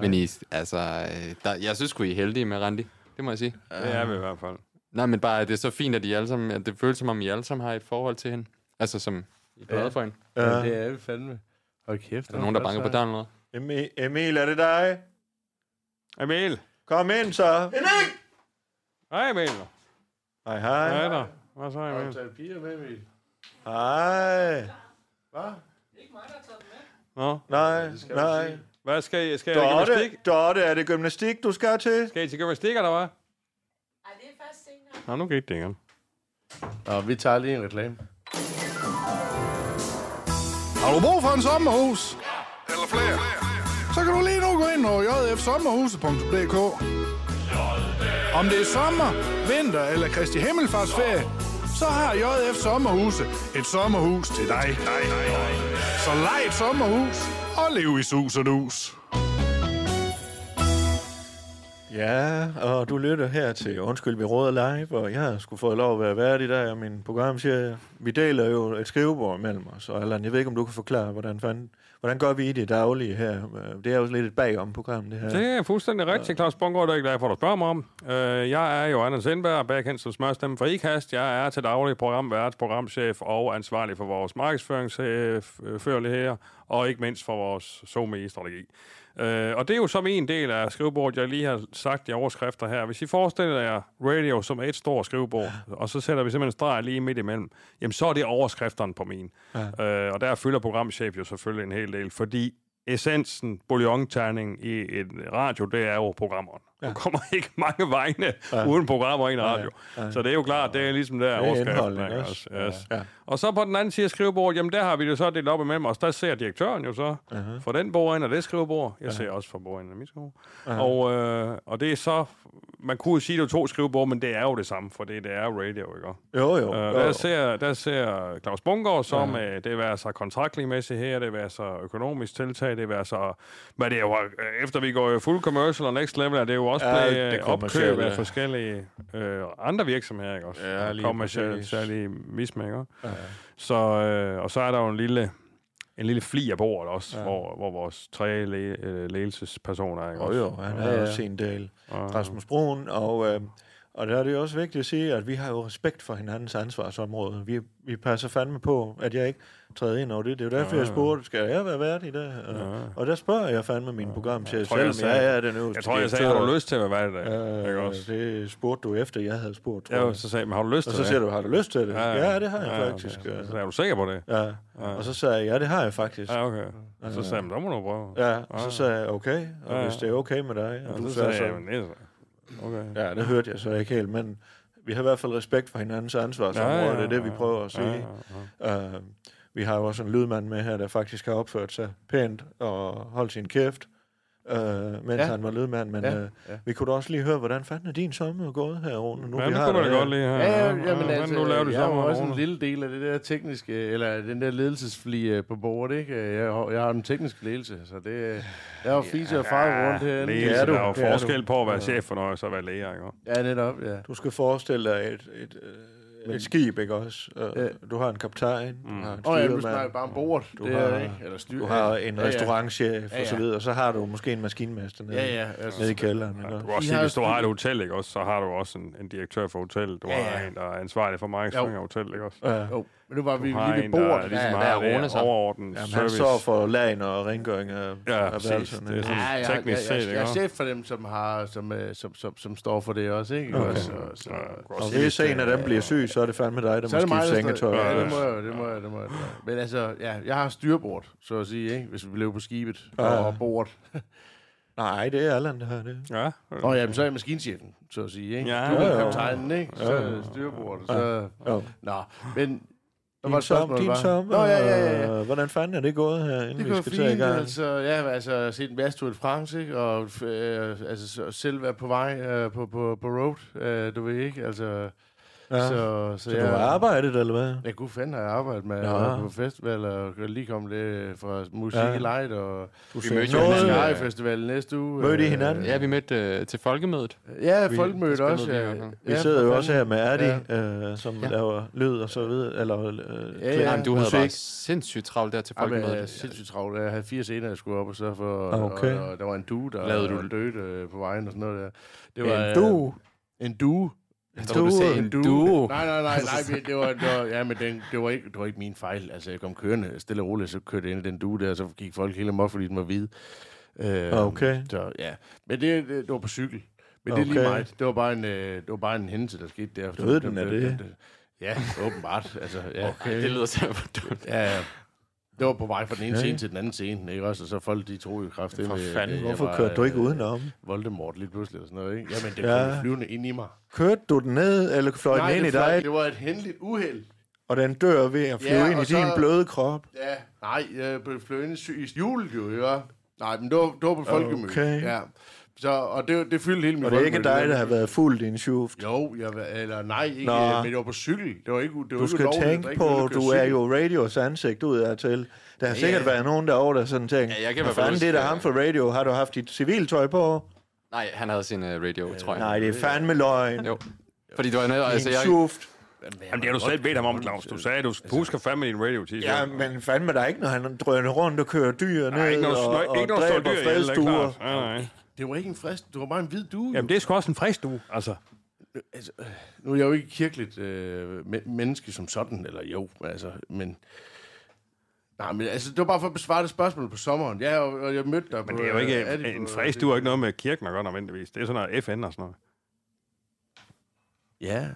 Speaker 8: Men I, altså, øh, der, jeg synes sgu, I er heldige med Randi. Det må jeg sige.
Speaker 4: Det er vi i hvert fald.
Speaker 8: Nej, men bare, det er så fint, at, I alle sammen, at det føles som om, I alle sammen har et forhold til hende. Altså, som I er glade for hende.
Speaker 3: Ja.
Speaker 2: Ja, det er vi fandme. Hold kæft. altså-
Speaker 8: Er der nogen, der banker på døren eller noget?
Speaker 3: Emil, Emil, er det dig?
Speaker 4: Emil!
Speaker 3: Kom ind så.
Speaker 4: Hej, Emil!
Speaker 3: Hej,
Speaker 4: Hej
Speaker 3: hej.
Speaker 4: der. Hvad så,
Speaker 2: Har du
Speaker 4: Emil?
Speaker 2: taget piger med, Emil?
Speaker 3: Hej.
Speaker 2: Hvad?
Speaker 4: Nå,
Speaker 3: Nej, nej.
Speaker 4: hvad skal I? Skal I have
Speaker 3: Dorte,
Speaker 4: gymnastik?
Speaker 3: Dorte, er det gymnastik, du skal til?
Speaker 4: Skal I til gymnastik, eller hvad?
Speaker 7: Ej, det er først senere.
Speaker 4: Nå, nu gik det igen.
Speaker 2: Nå, vi tager lige en reklame.
Speaker 9: Har du brug for en sommerhus? Eller flere? Så kan du lige nu gå ind på jfsommerhuset.dk Om det er sommer, vinter eller Kristi Himmelfartsferie, så har JF Sommerhuse et sommerhus til dig. Så lej et sommerhus og lev i sus og dus.
Speaker 3: Ja, og du lytter her til Undskyld, vi råder live, og jeg har sgu fået lov at være vært i dag, og min programchef, vi deler jo et skrivebord mellem os, og Allan, jeg ved ikke, om du kan forklare, hvordan, fanden, hvordan gør vi i det daglige her? Øh, Det er jo lidt et bagom program, det her.
Speaker 4: Det er fuldstændig rigtigt, Claus Bungård, det er ikke derfor, du spørger mig om. Øh, jeg er Johannes Sindberg, bagkendt som smørstemme for IKAST. Jeg er til daglig programvært, programchef og ansvarlig for vores markedsføringsførligheder, og ikke mindst for vores SOME-strategi. Øh, og det er jo som en del af skrivebordet, jeg lige har sagt i overskrifter her. Hvis I forestiller jer radio som et stort skrivebord, og så sætter vi simpelthen en streg lige midt imellem, jamen så er det overskrifterne på min. Ja. Øh, og der fylder programchef jo selvfølgelig en hel del, fordi essensen, bouillonterningen i en radio, det er jo programmeren. Ja. Du kommer ikke mange vegne ja. uden programmer og en radio. Ja. Ja. Så det er jo klart, det er ligesom der
Speaker 3: Det er
Speaker 4: overskriften,
Speaker 3: indholdet,
Speaker 4: ikke
Speaker 3: ikke
Speaker 4: også?
Speaker 3: også?
Speaker 4: Yes.
Speaker 3: Ja. Ja.
Speaker 4: Og så på den anden side af skrivebordet, jamen der har vi det så delt op imellem os. Der ser direktøren jo så uh-huh. for den bordende og det skrivebord. Jeg uh-huh. ser også for bordenden af mit skrivebord. Uh-huh. Og, øh, og det er så, man kunne jo sige, det er to skrivebord, men det er jo det samme, for det, det er jo radio, ikke også?
Speaker 3: Jo, jo.
Speaker 4: Øh,
Speaker 3: jo.
Speaker 4: der, ser, der ser Claus Bungård som, ja. øh, det være så kontraktligmæssigt her, det være så økonomisk tiltag, det være så, hvad det er jo, øh, efter vi går øh, full commercial og next level, er det jo også
Speaker 3: Ja,
Speaker 4: ja, blevet
Speaker 3: det
Speaker 4: øh, opkøb af
Speaker 3: kommercielle.
Speaker 4: forskellige øh, andre virksomheder, ikke også?
Speaker 3: Ja, lige
Speaker 4: Kommercielle,
Speaker 3: præcis.
Speaker 4: særlige mismækker. Ja. Så, øh, og så er der jo en lille en lille fli af bordet også, ja. hvor, hvor vores tre le- øh, ledelsespersoner er. Ikke
Speaker 3: Jo,
Speaker 4: også? øh,
Speaker 3: jo, han har ja, ja. også sin del. Rasmus Broen, og, øh, og der er det jo også vigtigt at sige, at vi har jo respekt for hinandens ansvarsområde. Vi, vi passer fandme på, at jeg ikke træder ind over det. Det er jo derfor, ja, jeg spurgte, skal jeg være vært i Øh, det? Ja. Og der spørger jeg fandme min programchef,
Speaker 4: tror, jeg
Speaker 3: selvom
Speaker 4: sagde-
Speaker 3: jeg er den øverste
Speaker 4: Jeg tror, jeg sagde, har du lyst til at være i dag?
Speaker 3: Øh,
Speaker 4: ikke også?
Speaker 3: Det spurgte du efter, jeg havde spurgt. tror
Speaker 4: Ja,
Speaker 3: jeg.
Speaker 4: så sagde jeg, men har du lyst
Speaker 3: og
Speaker 4: til
Speaker 3: så
Speaker 4: det?
Speaker 3: siger du, har du lyst til det? Ja, ja det har jeg
Speaker 4: ja,
Speaker 3: faktisk.
Speaker 4: Okay. Så
Speaker 3: Ja.
Speaker 4: sagde jeg, er du sikker på det? Ah,
Speaker 3: Ja. Og så sagde jeg, ja, det har jeg faktisk.
Speaker 4: Ja, okay. Og så sagde han, der må du prøve.
Speaker 3: Ja, og så sagde jeg, okay, og
Speaker 4: Ja,
Speaker 3: hvis det er okay med dig, og
Speaker 4: Og
Speaker 3: du
Speaker 4: så
Speaker 3: sagde
Speaker 4: sagde jeg,
Speaker 3: så,
Speaker 4: men det er så- Okay.
Speaker 3: Ja, det hørte jeg så ikke helt, men vi har i hvert fald respekt for hinandens ansvarsområde,
Speaker 4: Ja,
Speaker 3: ja,
Speaker 4: ja,
Speaker 3: ja, det er det, vi
Speaker 4: ja.
Speaker 3: prøver at
Speaker 4: Ja,
Speaker 3: sige. Ja, ja, ja. Uh, vi har jo også en lydmand med her, der faktisk har opført sig pænt og holdt sin kæft, uh, mens ja.
Speaker 2: Ja.
Speaker 3: han var lydmand, men ja.
Speaker 2: Ja,
Speaker 3: Uh,
Speaker 2: ja.
Speaker 3: vi kunne da også lige høre, hvordan fanden er din sommer gået her, Rune?
Speaker 4: Ja,
Speaker 3: vi
Speaker 4: det
Speaker 3: har
Speaker 4: kunne
Speaker 3: dig
Speaker 4: du da
Speaker 3: her.
Speaker 4: godt lige have.
Speaker 2: Ja, ja, ja, men altså,
Speaker 4: nu laver du
Speaker 2: jeg er jo
Speaker 4: sommer,
Speaker 2: også en
Speaker 4: Rune?
Speaker 2: lille del af det der tekniske, eller den der ledelsesfli øh, på bordet, ikke? Jeg har, jeg har en teknisk ledelse, så det, øh, jeg er jo fise og far rundt herinde.
Speaker 4: Læge,
Speaker 3: Det er
Speaker 4: så
Speaker 3: du.
Speaker 4: der er jo
Speaker 3: Det er du.
Speaker 4: forskel på at være chef for noget, og så at være læger, ikke?
Speaker 2: Ja, netop, ja.
Speaker 3: Du skal forestille dig et, et, øh, et, et skib, ikke også? Uh,
Speaker 2: Ja.
Speaker 3: Du har en kaptajn, mm. du har en
Speaker 2: Åh, ja, du
Speaker 3: styrmand,
Speaker 2: snakker bare om bordet.
Speaker 3: Du
Speaker 2: det
Speaker 3: har-
Speaker 2: er, ikke? Eller styr,
Speaker 3: du har en restaurantchef,
Speaker 2: Ja, ja.
Speaker 3: og så videre, og så har du måske en maskinmester nede,
Speaker 2: Ja, ja. Altså,
Speaker 3: nede i kælderen, ikke også?
Speaker 4: Du kan også
Speaker 2: I
Speaker 4: sige,
Speaker 2: har
Speaker 4: hvis
Speaker 2: jo
Speaker 4: du har et hotel, ikke også, så har du også en, en direktør for hotellet. Du
Speaker 2: Ja,
Speaker 4: har
Speaker 2: ja.
Speaker 4: en, der er ansvarlig for markedsføring af hotellet, ikke også?
Speaker 3: Ja.
Speaker 2: Jo. Men nu var vi
Speaker 4: Du har
Speaker 2: lige ved
Speaker 4: en, der er
Speaker 2: bordet.
Speaker 4: ligesom
Speaker 8: Ja,
Speaker 4: meget
Speaker 8: der er Rune
Speaker 4: der
Speaker 8: så.
Speaker 4: overordnet
Speaker 3: Jamen, han
Speaker 4: service.
Speaker 3: står for lagen og rengøring af,
Speaker 4: Ja,
Speaker 3: af
Speaker 4: præcis.
Speaker 3: værelserne.
Speaker 4: Det er sådan-
Speaker 3: Ja.
Speaker 2: Ja, jeg, jeg,
Speaker 4: teknisk
Speaker 2: jeg,
Speaker 4: set,
Speaker 2: jeg,
Speaker 4: ikke
Speaker 2: jeg er
Speaker 4: også?
Speaker 2: chef for dem, som, har, som, øh, som, som, som står for det også, ikke? Okay. Også, og, så,
Speaker 3: Og hvis en af dem bliver syg, så er det fandme dig, der
Speaker 2: så
Speaker 3: må
Speaker 2: er det mig,
Speaker 3: skifte
Speaker 2: der står.
Speaker 3: sengetøj.
Speaker 2: Ja,
Speaker 3: Ja,
Speaker 2: det må jeg, det må jeg, det må jeg. Men altså, ja, jeg har styrbord, så at sige, ikke? Hvis vi lever på skibet
Speaker 3: Ja.
Speaker 2: og bordet.
Speaker 3: Nej, det er Allan, der har det.
Speaker 4: Ja.
Speaker 2: Nå, jamen, så er jeg maskinchefen, så at sige, ikke?
Speaker 4: Ja,
Speaker 2: Du
Speaker 3: ja,
Speaker 2: er
Speaker 3: ja.
Speaker 2: kaptajnen, ikke? Så er det styrbord, så...
Speaker 3: Jo.
Speaker 2: Nå, men... Hvad var
Speaker 3: Din
Speaker 2: det
Speaker 3: som,
Speaker 2: spørgsmålet,
Speaker 3: din
Speaker 2: var?
Speaker 3: som,
Speaker 2: Nå, ja, ja, ja, ja.
Speaker 3: og hvordan fanden er det gået her, inden
Speaker 2: Det
Speaker 3: vi
Speaker 2: går
Speaker 3: skal tage i
Speaker 2: fint,
Speaker 3: gang?
Speaker 2: altså. Ja, altså, jeg har set en masse Tour de France, ikke? Og øh, altså, så- selv være på vej øh, på, på, på road, øh, du ved ikke, altså...
Speaker 3: Ja. Så,
Speaker 2: Så, så,
Speaker 3: så du har arbejdet, eller hvad?
Speaker 2: Jeg kunne fanden have arbejdet med
Speaker 3: Nå.
Speaker 2: at være på festival, og jeg lige komme lidt øh, fra Musik
Speaker 3: Ja.
Speaker 2: i Light, og
Speaker 3: Du
Speaker 8: Vi
Speaker 3: sagde
Speaker 8: mødte jo
Speaker 3: noget.
Speaker 8: hinanden.
Speaker 2: Sky Festival næste uge.
Speaker 3: Mødte I
Speaker 2: øh,
Speaker 3: hinanden?
Speaker 8: Ja, vi mødte øh, til folkemødet.
Speaker 2: Ja,
Speaker 8: Vi-
Speaker 2: folkemødet
Speaker 8: der
Speaker 2: også.
Speaker 8: spillede vi
Speaker 2: Ja.
Speaker 8: i hvert
Speaker 3: Vi
Speaker 2: Ja,
Speaker 3: sidder
Speaker 2: for
Speaker 3: jo også her
Speaker 2: fanden.
Speaker 3: med Adi, øh, som
Speaker 8: Ja.
Speaker 3: laver lyd og så videre, eller øh,
Speaker 2: Ja,
Speaker 3: klæder
Speaker 2: ja.
Speaker 8: Jamen, du havde
Speaker 3: musik.
Speaker 8: bare sindssygt travlt der til
Speaker 2: Ja, men jeg er
Speaker 8: folkemødet.
Speaker 2: sindssygt travlt. Jeg havde fire scener, jeg skulle op og så for,
Speaker 3: Ah, Okay.
Speaker 2: og, og, der var en due, der
Speaker 8: Lavede du-
Speaker 2: døde øh, på vejen og sådan noget der. Det
Speaker 3: En
Speaker 2: øh,
Speaker 3: du.
Speaker 2: En due.
Speaker 8: Jeg tror, du sagde en duo.
Speaker 2: Nej, nej, nej, nej, vi- det var, det var, ja, men den, det, var ikke, det var ikke min fejl. Altså, jeg kom kørende stille og roligt, så kørte jeg ind i den due der, og så gik folk hele mig, fordi den var hvid. Øh,
Speaker 3: Okay.
Speaker 2: Så, ja. Men det, det, det var på cykel. Men det er lige
Speaker 3: Okay.
Speaker 2: meget. Det var bare en, øh, det var bare en hændelse, der skete der.
Speaker 3: Døde den af det?
Speaker 2: Ja, åbenbart. Altså, ja.
Speaker 8: Okay. Det lyder simpelthen dumt.
Speaker 2: Ja, ja. Det var på vej fra den ene
Speaker 3: Okay.
Speaker 2: scene til den anden scene, ikke også? Og så folk, de troede jo kraftigt.
Speaker 8: For fanden,
Speaker 3: Hvorfor kørte du ikke udenom?
Speaker 2: øh, Voldemort lige pludselig og sådan noget, ikke? Jamen, det
Speaker 3: Ja.
Speaker 2: ja. kom flyvende ind i mig.
Speaker 3: Kørte du den ned, eller fløj den ind i
Speaker 2: det, fløj-
Speaker 3: dig,
Speaker 2: det var et hændeligt uheld.
Speaker 3: og den dør ved at flyve
Speaker 2: Ja,
Speaker 3: ind i
Speaker 2: og
Speaker 3: din
Speaker 2: så-
Speaker 3: bløde krop?
Speaker 2: Ja, nej, jeg blev fløjet ind i sy- i hjulet jo, ja. Nej, men det var, det var på folkemødet.
Speaker 3: Okay.
Speaker 2: Ja. Så, og det, det fyldte hele min
Speaker 3: Og det er ikke
Speaker 2: folkemøde.
Speaker 3: dig, der har været fuld i en schuft.
Speaker 2: Jo, jeg, var- eller nej, ikke,
Speaker 3: Nå.
Speaker 2: Nå. men jeg var på cykel. Det var ikke, det var
Speaker 3: Du
Speaker 2: ikke
Speaker 3: skal
Speaker 2: ulovligt. Der
Speaker 3: tænke
Speaker 2: ikke noget,
Speaker 3: på,
Speaker 2: der kører
Speaker 3: du er
Speaker 2: cykel.
Speaker 3: jo radios ansigt ud af til. Der har sikkert
Speaker 2: ja.
Speaker 3: været nogen derovre, der sådan tænkt,
Speaker 8: Ja, jeg
Speaker 3: hvad
Speaker 8: kan i hvert fald
Speaker 3: fanden det er
Speaker 8: huske,
Speaker 3: der ham
Speaker 8: øh,
Speaker 3: for radio? Har du haft dit civiltøj på?
Speaker 8: Nej, han havde sin øh, radio, tror jeg.
Speaker 3: Nej, det er fandme løgn.
Speaker 8: Jo. Fordi du var nede, altså
Speaker 3: En
Speaker 8: jeg...
Speaker 3: schuft.
Speaker 4: Jamen, det har du selv bedt ham om, Claus. Du sagde, du husker fandme din radio t-shirt.
Speaker 3: Ja, men fandme der er ikke, når han drøner rundt og kører dyr ned
Speaker 4: Nej, ikke når du,
Speaker 3: og,
Speaker 4: og,
Speaker 3: og
Speaker 4: ikke når du står dyr
Speaker 3: dræber
Speaker 4: ihjel, det er
Speaker 3: fredstuer.
Speaker 4: klart. Nej, nej.
Speaker 2: Det var ikke en frist, det var bare en hvid due.
Speaker 4: Jamen, det er sgu også en frisk du, altså.
Speaker 2: øh, Nu er jeg jo ikke kirkeligt øh, me- menneske som sådan, eller jo, altså, men... Nej, men altså, det var bare for at besvare det spørgsmål på sommeren. Ja, og, og jeg mødte dig
Speaker 4: Men
Speaker 2: på...
Speaker 4: det er jo
Speaker 2: øh, Adi
Speaker 4: ikke,
Speaker 2: på-
Speaker 4: en frisk du er ikke noget med kirken at gøre nødvendigvis. Det er sådan noget FN og sådan noget.
Speaker 2: Ja,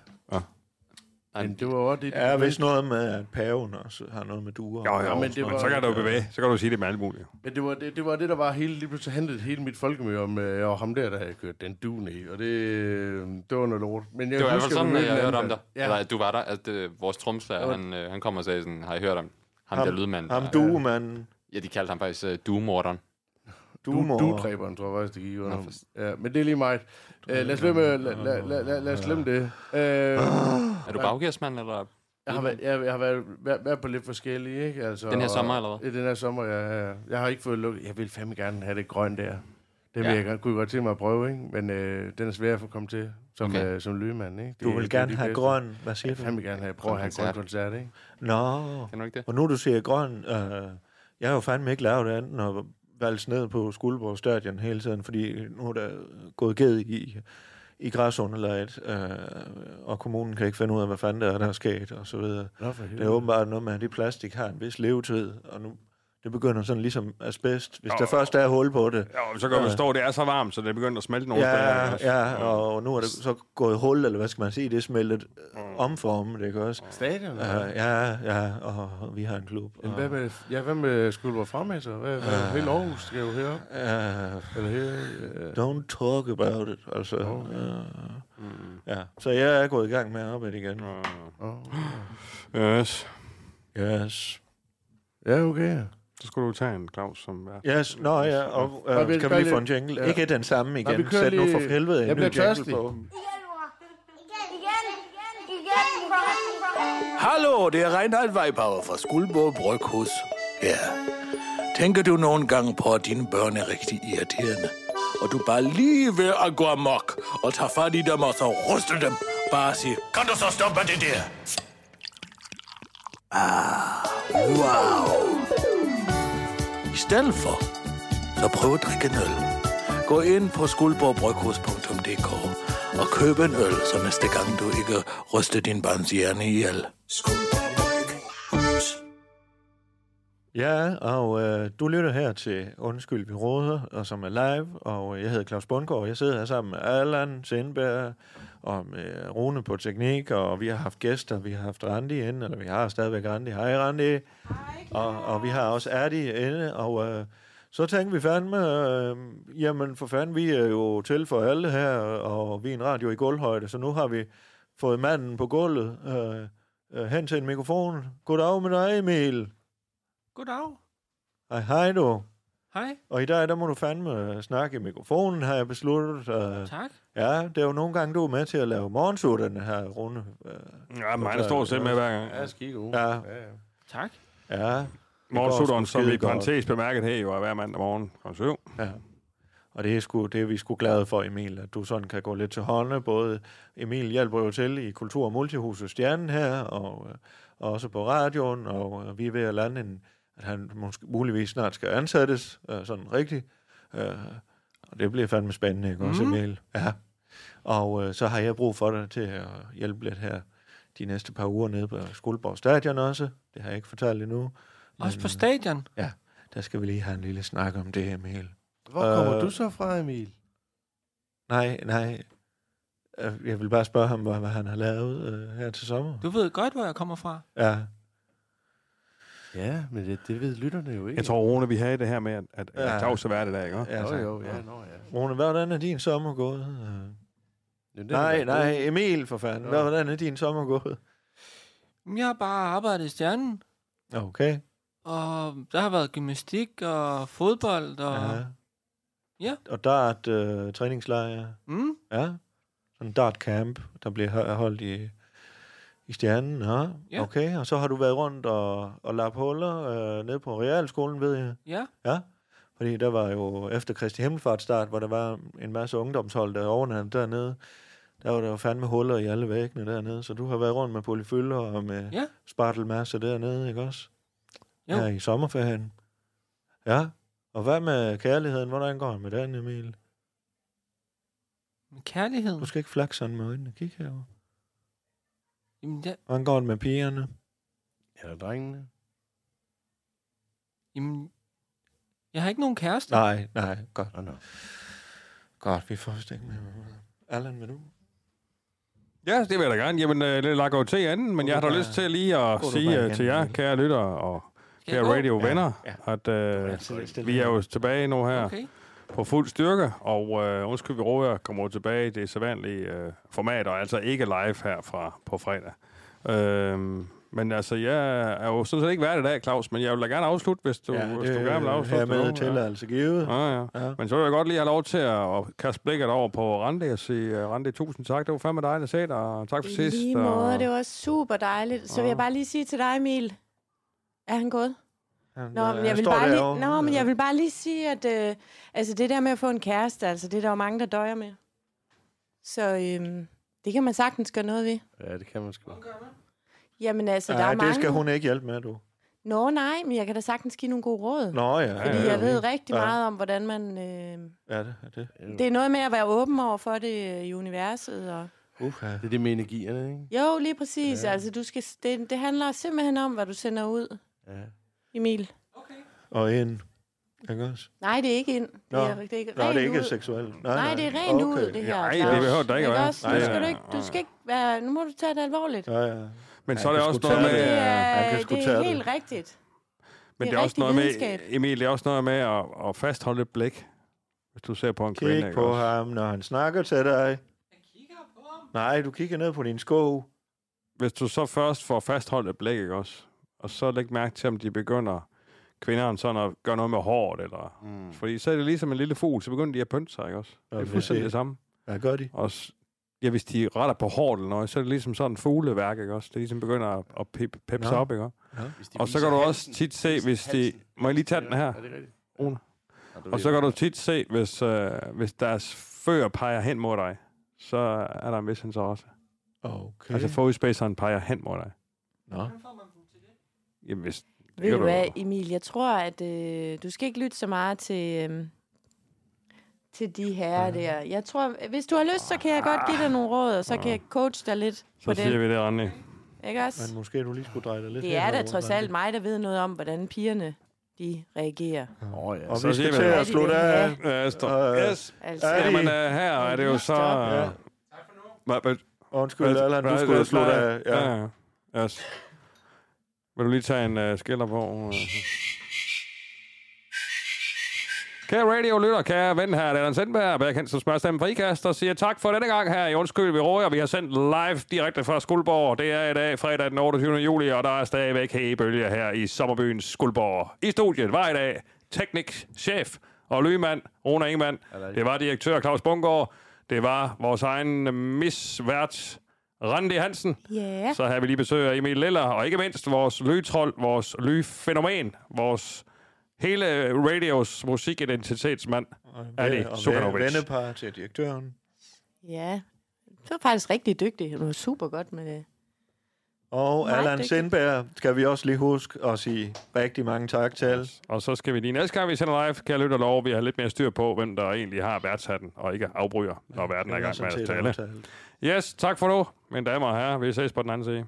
Speaker 8: Nej,
Speaker 2: men det var også det.
Speaker 3: Ja, hvis noget med, at paven også har noget med duer.
Speaker 4: Jo, jo,
Speaker 2: men
Speaker 4: men
Speaker 2: det var-
Speaker 4: så kan du jo bevæge. Så kan du sige det med alt muligt.
Speaker 2: Men det var det, det, var det der var hele, lige pludselig handlede hele mit folkemøde om, øh, og ham der, der havde kørt den dune i, og det, øh, det var noget lort. Men jeg
Speaker 8: Det var i hvert fald
Speaker 2: husker, vi
Speaker 8: sådan,
Speaker 2: mødte
Speaker 8: at jeg hørte om
Speaker 2: hinanden
Speaker 8: dig.
Speaker 2: der.
Speaker 8: Ja. Eller at du var der. At øh, vores tromslærer, han, øh, han kom og sagde sådan, har I hørt om ham, ham der lydmand?
Speaker 3: Ham
Speaker 8: der-
Speaker 3: duemanden.
Speaker 8: Ja, de kaldte ham faktisk øh, duemorderen.
Speaker 3: Duemor.
Speaker 2: Du, du dræberen, tror jeg faktisk, det gik under. ham. Ja, men det er lige mig. Uh, lad os glemme, lad, lad, lad, lad, lad os glemme det. Uh,
Speaker 8: Er du baggearsmand, eller?
Speaker 2: jeg har, været, jeg, jeg har været, været, været på lidt forskellige, ikke? Altså,
Speaker 8: Den her sommer, eller hvad?
Speaker 2: Ja, den her sommer, ja, ja, ja. Jeg har ikke fået lukket. Jeg vil fandme gerne have det grønne der. Det vil
Speaker 8: Ja.
Speaker 2: ja. jeg godt, kunne jeg godt tænke mig at prøve, ikke? Men øh, den er svær at få komme til som,
Speaker 8: Okay.
Speaker 2: okay. øh, som lydmand, ikke? Det
Speaker 3: Du
Speaker 2: er-
Speaker 3: vil
Speaker 2: det er
Speaker 3: gerne
Speaker 2: de
Speaker 3: have
Speaker 2: bedste.
Speaker 3: grøn. Hvad
Speaker 2: Jeg
Speaker 3: siger
Speaker 2: vil
Speaker 3: du?
Speaker 2: fandme gerne have, prøve at have en grøn
Speaker 8: Grøn
Speaker 2: koncert, ikke?
Speaker 3: Nå.
Speaker 8: Kan du ikke det?
Speaker 3: Og nu du siger grøn, øh, jeg har jo fandme ikke lavet andet end at valse ned på Skuldborg Stadion hele tiden, fordi nu er der gået ged i, i græsunderlaget, øh, og kommunen kan ikke finde ud af, hvad fanden der er, der er sket, og så videre.
Speaker 2: Nå, for
Speaker 3: Det er åbenbart noget med, at det plastik har en vis levetid, og nu det begynder sådan ligesom asbest. Hvis der først er hul på det, øh,
Speaker 4: Ja, og så kan man forstå, at det er så varmt, så det er begyndt at smelte nogle
Speaker 3: Ja,
Speaker 4: steder.
Speaker 3: ja, og nu er det så gået hul, eller hvad skal man sige, det er smeltet
Speaker 2: Mm.
Speaker 3: omformet, ikke også?
Speaker 2: Stadion?
Speaker 3: Ja, ja, ja, og vi har en klub. Og,
Speaker 2: Men hvad med, ja, hvad med Skuldborg Fremad så? Hvad, hvad,
Speaker 8: Ah.
Speaker 2: hele Aarhus skal jo herop?
Speaker 3: uh,
Speaker 2: Eller her, øh,
Speaker 3: don't talk about it, altså. Uh, ja, så jeg er gået i gang med at arbejde igen.
Speaker 2: øh.
Speaker 4: Ja. Yes.
Speaker 3: Yes.
Speaker 2: ja, okay.
Speaker 4: Så skulle du tage en Claus som vært.
Speaker 3: Yes, nå ja, og
Speaker 2: Nå, vi-
Speaker 3: uh, kan vi
Speaker 2: bare
Speaker 3: lige få en
Speaker 2: lige-
Speaker 3: jingle?
Speaker 2: ja.
Speaker 3: Ikke den samme
Speaker 2: vi
Speaker 3: igen.
Speaker 2: kører
Speaker 3: Sæt nu
Speaker 2: lige-
Speaker 3: for helvede en
Speaker 2: Jeg
Speaker 3: ny
Speaker 2: bliver
Speaker 3: jingle
Speaker 2: tørstig.
Speaker 3: på.
Speaker 10: Hallo, det er Reinhard Weibauer fra Skuldborg Bryghus. Ja, tænker du nogle gange på, at dine børn er rigtig irriterende? Og du bare lige ved at gå amok og tage fat i dem og så ryste dem. Bare sige, kan du så stoppe det der? Ah, wow. I stedet for, så prøv at drikke en øl. Gå ind på skuldborgbryghus.dk og køb en øl, så næste gang du ikke ryster din barns hjerne ihjel. Skuldborg Bryghus.
Speaker 3: Ja, og øh, du lytter her til Undskyld, vi råder, og som er live, og øh, jeg hedder Claus Bundgaard, og jeg sidder her sammen med Allan Sindberg og med Rune på Teknik, og vi har haft gæster, vi har haft Randi inde, eller vi har stadigvæk Randi. Hej Randi. Hej, og, og vi har også Erdi inde, og øh, så tænkte vi fandme, øh, jamen for fanden, vi er jo til for alle her, og vi er en radio i gulvhøjde, så nu har vi fået manden på gulvet øh, øh, hen til en mikrofon. Goddag med dig, Emil.
Speaker 11: Goddag.
Speaker 3: Hej, hej du.
Speaker 11: Hej.
Speaker 3: Og i dag, der må du fandme øh, snakke i mikrofonen, har jeg besluttet. Øh,
Speaker 11: Tak.
Speaker 3: Ja, det er jo nogle gange, du er med til at lave morgensutterne her, Rune. Øh,
Speaker 4: Ja, men han står selv med hver gang.
Speaker 2: Ja, skide god.
Speaker 3: Ja.
Speaker 11: Tak.
Speaker 3: Ja.
Speaker 4: Morgensutteren, som i parentes
Speaker 3: bemærket her, jo er hver mandag morgen kl. 7. Ja. Og det er, sgu, det er vi sgu glade for, Emil, at du sådan kan gå lidt til hånden. Både Emil hjælper jo til i Kultur- og Multihuset Stjernen her, og, øh, og også på radioen, og øh, vi er ved at lande, en, at han måske, muligvis snart skal ansættes, øh, sådan rigtigt. Øh, og det bliver fandme spændende, ikke også,
Speaker 11: Mhm.
Speaker 3: Emil? Ja. Og øh, så har jeg brug for dig til at hjælpe lidt her de næste par uger nede på Skuldborg Stadion også. Det har jeg ikke fortalt endnu.
Speaker 11: Også på stadion?
Speaker 3: Ja, der skal vi lige have en lille snak om det, Emil.
Speaker 2: Hvor kommer
Speaker 3: Øh,
Speaker 2: du så fra, Emil?
Speaker 3: Nej, nej. Øh, Jeg vil bare spørge ham, hvad, hvad han har lavet øh, her til sommer.
Speaker 11: Du ved godt, hvor jeg kommer fra.
Speaker 3: Ja.
Speaker 2: Ja, men det, det ved lytterne jo ikke.
Speaker 4: Jeg tror, Rune, vi havde det her med, at, at
Speaker 3: Ja.
Speaker 4: ja. Claus er værd i dag, ikke?
Speaker 3: Ja,
Speaker 2: Jo,
Speaker 3: tak.
Speaker 2: jo, ja, nå, ja.
Speaker 3: Rune, hvordan er din sommer gået? Øh,
Speaker 2: den
Speaker 3: Nej,
Speaker 2: er
Speaker 3: nej,
Speaker 2: god.
Speaker 3: Emil for fanden. Hvad,
Speaker 2: Nå.
Speaker 3: hvordan er din sommer gået?
Speaker 11: Jamen, Jeg har bare arbejdet i Stjernen,
Speaker 3: Okay.
Speaker 11: og der har været gymnastik og fodbold, og
Speaker 3: Ja.
Speaker 11: ja. Ja.
Speaker 3: Og dart øh, træningslejr.
Speaker 11: Mm.
Speaker 3: Ja. Sådan en dart camp, der bliver ho- holdt i, i stjernen. Ja.
Speaker 11: Ja.
Speaker 3: Okay, og så har du været rundt og, og lappet huller øh, nede på realskolen, ved jeg.
Speaker 11: Ja.
Speaker 3: Ja. Fordi der var jo efter Kristi Himmelfarts start, hvor der var en masse ungdomshold, der overnattede dernede. Der var der jo fandme huller i alle væggene dernede, så du har været rundt med polyfylder og med
Speaker 11: Ja.
Speaker 3: spartelmasse dernede, ikke også?
Speaker 11: Jo.
Speaker 3: Ja, i sommerferien. Ja, og hvad med kærligheden? Hvordan går det med den, Emil?
Speaker 11: med kærligheden.
Speaker 3: Du skal ikke flakke sådan med øjnene. Kig herover.
Speaker 11: Jamen, jeg,
Speaker 3: Hvordan går det med pigerne?
Speaker 2: Eller drengene.
Speaker 11: jamen, jeg har ikke nogen kæreste.
Speaker 3: Nej, nej, godt.
Speaker 2: Nå, nå.
Speaker 3: Godt, vi får vist ikke mere. Allan, vil du?
Speaker 4: Ja, det vil jeg da gerne. Jamen, øh, det lakker jo til anden, men jeg har da
Speaker 3: bare-
Speaker 4: lyst til lige at
Speaker 3: gå du
Speaker 4: sige
Speaker 3: bare
Speaker 4: øh, til
Speaker 3: igen,
Speaker 4: jer,
Speaker 3: Emil.
Speaker 4: kære lyttere og
Speaker 11: Skal jeg
Speaker 4: kære
Speaker 11: gå?
Speaker 4: radiovenner,
Speaker 3: Ja,
Speaker 4: at øh,
Speaker 3: stille- stille
Speaker 4: vi er
Speaker 3: her.
Speaker 4: jo tilbage nu her
Speaker 11: Okay.
Speaker 4: på fuld styrke, og øh, undskyld, vi råder kommer jo tilbage i det sædvanlige øh, format, og altså ikke live her fra, på fredag. Øh, men altså, jeg er jo sådan set ikke værd i dag, Claus, men jeg vil da gerne afslutte, hvis du, ja, hvis du gerne vil afslutte. øh,
Speaker 3: Her med
Speaker 4: nu, ja.
Speaker 3: tilladelse givet.
Speaker 4: Ja, ja.
Speaker 3: Ja.
Speaker 4: Men så vil jeg godt lige have lov til at, at kaste blikket over på Randi og sige, uh, Randi, tusind tak. Det var fandme dejligt at se dig, og tak for
Speaker 5: I
Speaker 4: sidst.
Speaker 5: lige måde, det var super dejligt. Så vil
Speaker 4: Ja.
Speaker 5: jeg bare lige sige til dig, Emil. Er han gået?
Speaker 3: Han,
Speaker 5: Nå,
Speaker 3: øh,
Speaker 5: men
Speaker 3: han
Speaker 5: jeg vil,
Speaker 3: står
Speaker 5: bare lige,
Speaker 3: derovre.
Speaker 5: nå, men jeg vil bare lige sige, at øh, altså det der med at få en kæreste, altså det er der jo mange, der døjer med. Så øhm, det kan man sagtens gøre noget ved.
Speaker 2: Ja, det kan man sgu.
Speaker 5: Jamen altså, der
Speaker 3: Nej,
Speaker 5: er
Speaker 3: det
Speaker 5: mange...
Speaker 3: skal hun ikke hjælpe med, du.
Speaker 5: Nå nej, men jeg kan da sagtens give nogle gode råd.
Speaker 3: Nå, ja.
Speaker 5: Fordi
Speaker 3: ja, ja,
Speaker 5: jeg ved
Speaker 3: ja.
Speaker 5: rigtig
Speaker 3: ja.
Speaker 5: meget om, hvordan man... Øh,
Speaker 3: Ja, det er det.
Speaker 5: det er noget med at være åben over for det øh, i universet. Og...
Speaker 3: Uha.
Speaker 2: Det er det med energierne, ikke?
Speaker 5: Jo, lige præcis. Ja. Altså, du skal, det, det handler simpelthen om, hvad du sender ud,
Speaker 2: Ja.
Speaker 5: Emil.
Speaker 3: Og en. Ikke også?
Speaker 5: Nej, det er ikke ind. Det
Speaker 3: Nå.
Speaker 5: er, det er ikke
Speaker 3: Nå, det er ikke
Speaker 5: ud.
Speaker 3: seksuelt.
Speaker 5: Nej, nej, det er rent okay. ud, det her.
Speaker 4: Nej, det
Speaker 5: Claus.
Speaker 4: behøver der ikke at være.
Speaker 5: også?
Speaker 4: Nej,
Speaker 5: Nu skal
Speaker 4: nej,
Speaker 5: du ikke, du skal ikke være, nu må du tage det alvorligt.
Speaker 3: Ja, ja.
Speaker 4: Men
Speaker 3: Han
Speaker 4: så er det
Speaker 3: kan
Speaker 4: også
Speaker 3: sgu
Speaker 4: noget
Speaker 3: tage
Speaker 4: med,
Speaker 5: Det
Speaker 4: øh,
Speaker 3: han
Speaker 5: er,
Speaker 3: kan sgu
Speaker 5: det
Speaker 3: tage
Speaker 5: er
Speaker 3: det.
Speaker 5: helt rigtigt.
Speaker 4: men
Speaker 5: det
Speaker 4: det
Speaker 5: er
Speaker 4: er også
Speaker 5: rigtig
Speaker 4: noget med,
Speaker 5: videnskab.
Speaker 4: Emil, det er også noget med at, at fastholde et blik, hvis du ser på en kvinde.
Speaker 3: Kig
Speaker 4: ikke
Speaker 3: på
Speaker 4: også?
Speaker 3: ham, når han snakker til dig. Jeg kigger på ham. Nej, du kigger ned på din sko.
Speaker 4: Hvis du så først får fastholdt et blik, ikke også? Og så læg mærke til, om de begynder, kvinderne sådan at gøre noget med håret, eller... Mm. Fordi så er det ligesom en lille fugl, så begynder de at pynte sig, ikke også? Det er
Speaker 3: det er
Speaker 4: fuldstændig
Speaker 3: det.
Speaker 4: det samme.
Speaker 3: Hvad gør de?
Speaker 4: Og s- ja, hvis de retter på hårdt eller noget, så er det ligesom sådan en fugleværk, ikke også? Det er ligesom begynder at, at pep, pepse
Speaker 3: Nå.
Speaker 4: op, ikke også?
Speaker 2: Hvis de
Speaker 4: Og så
Speaker 2: viser
Speaker 4: kan du også
Speaker 2: halsen-
Speaker 4: tit se,
Speaker 2: viser
Speaker 4: hvis de...
Speaker 2: halsen.
Speaker 4: Må jeg lige tage den her?
Speaker 2: Er det rigtigt?
Speaker 4: Rune?
Speaker 2: Ja, du
Speaker 4: Og
Speaker 2: ved
Speaker 4: så
Speaker 2: det.
Speaker 4: kan du tit se, hvis, øh, hvis deres fører peger hen mod dig, så er der en vis interesse.
Speaker 3: Okay.
Speaker 4: Altså forudspaceren peger hen mod dig.
Speaker 3: Nå.
Speaker 4: Jamen, hvis... det
Speaker 5: Ved
Speaker 4: kan
Speaker 5: du hvad, Emil, jeg tror, at øh, du skal ikke lytte så meget til, øh, til de herrer der. Jeg tror, hvis du har lyst, så kan jeg godt give dig nogle råd, og så kan jeg coache dig lidt
Speaker 4: Så
Speaker 5: på
Speaker 4: siger
Speaker 5: den.
Speaker 4: vi det, Randi.
Speaker 5: Ikke også?
Speaker 3: Men måske du lige skulle dreje dig lidt
Speaker 5: Det er
Speaker 3: herover,
Speaker 5: da trods
Speaker 3: Brandy.
Speaker 5: alt mig, der ved noget om, hvordan pigerne de reagerer.
Speaker 12: Åh ja.
Speaker 4: Og
Speaker 3: Så
Speaker 4: vi
Speaker 3: siger
Speaker 4: skal
Speaker 3: vi
Speaker 4: til
Speaker 3: det.
Speaker 4: at slutte af.
Speaker 3: Ja.
Speaker 4: Ja, stop.
Speaker 3: Øh,
Speaker 4: Yes.
Speaker 5: altså.
Speaker 4: Jamen, øh, her er det jo så...
Speaker 3: Ja.
Speaker 4: Hvad- hvad-
Speaker 3: Undskyld,
Speaker 4: hvad-
Speaker 3: Allan, du
Speaker 4: hvad-
Speaker 3: skulle
Speaker 4: hvad-
Speaker 3: slutte af, ja.
Speaker 4: Ja, ja. Yes. Vil du lige tage en uh, skiller på? øh? Kære radio-lytter, kære ven her, det er Allan Sendberg, og jeg kan som spørgsmål fra IKAST, og siger tak for denne gang her i Undskyld, vi råder. Vi har sendt live direkte fra Skuldborg. Det er i dag, fredag den 28. juli, og der er stadigvæk hægebølge her i sommerbyen Skuldborg. I studiet var i dag teknik, chef og lymand, Rune Ingemann. Det var direktør Claus Bungård. Det var vores egen misvært, Randi Hansen.
Speaker 5: Ja.
Speaker 4: Så havde vi lige besøg af Emil Liller, og ikke mindst vores lydtrold, vores lydfænomen, vores hele radios musikidentitetsmand, Ali
Speaker 3: Og
Speaker 4: Sukanovic.
Speaker 3: Vennepar til direktøren.
Speaker 5: Ja. Du er faktisk rigtig dygtig. Du var super godt med det.
Speaker 3: Og
Speaker 5: Meget
Speaker 3: Allan
Speaker 5: dygtig.
Speaker 3: Sindberg skal vi også lige huske at sige rigtig mange tak til. Yes.
Speaker 4: Og så skal vi lige næste gang, vi sender live, kan jeg lytte og love, vi har lidt mere styr på, hvem der egentlig har værtshatten og ikke afbryder, når verden er i
Speaker 3: det er
Speaker 4: gang med
Speaker 3: sådan
Speaker 4: at
Speaker 3: set
Speaker 4: tale.
Speaker 3: aftalt.
Speaker 4: Yes, tak for nu, mine damer og herrer. Vi ses på den anden side.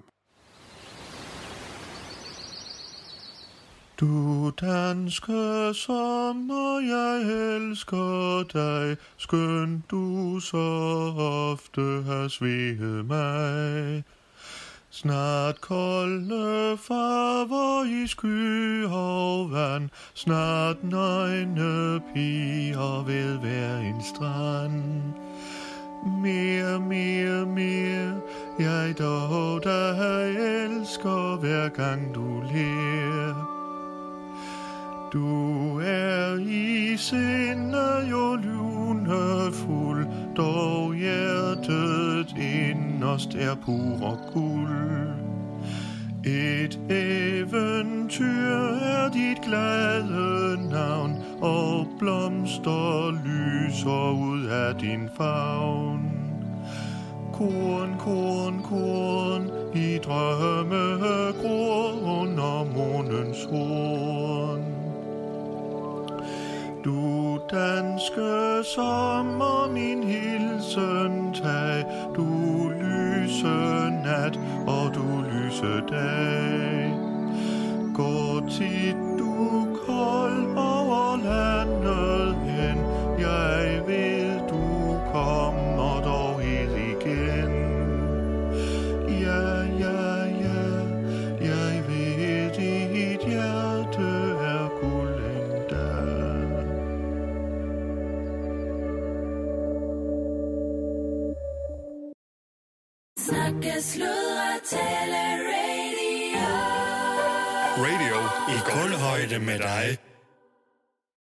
Speaker 2: Du danske sommer, jeg elsker dig, skønt du så ofte har svedet mig. Snart kolde farver i sky og vand, snart nøgne piger ved hver en strand. Mere, mere, mere, jeg dog dig elsker, hver gang du ler. Du er i sinde jo lunefuld, dog hjertet inderst er pur og guld. Et eventyr er dit glade navn, og blomster lyser ud af din favn. Korn, korn, korn, i drømme gror under månens horn. Du danske sommer, min hilsen tag, du lyse nat, og du lyse dag. Gå tit du kold over landet hen, jeg ved du kommer dog hit igen. Ja, ja, ja, jeg ved dit hjerte er guld endda.
Speaker 7: Snakke, sludre, tale, radio.
Speaker 2: Radio i guldhøjde med dig.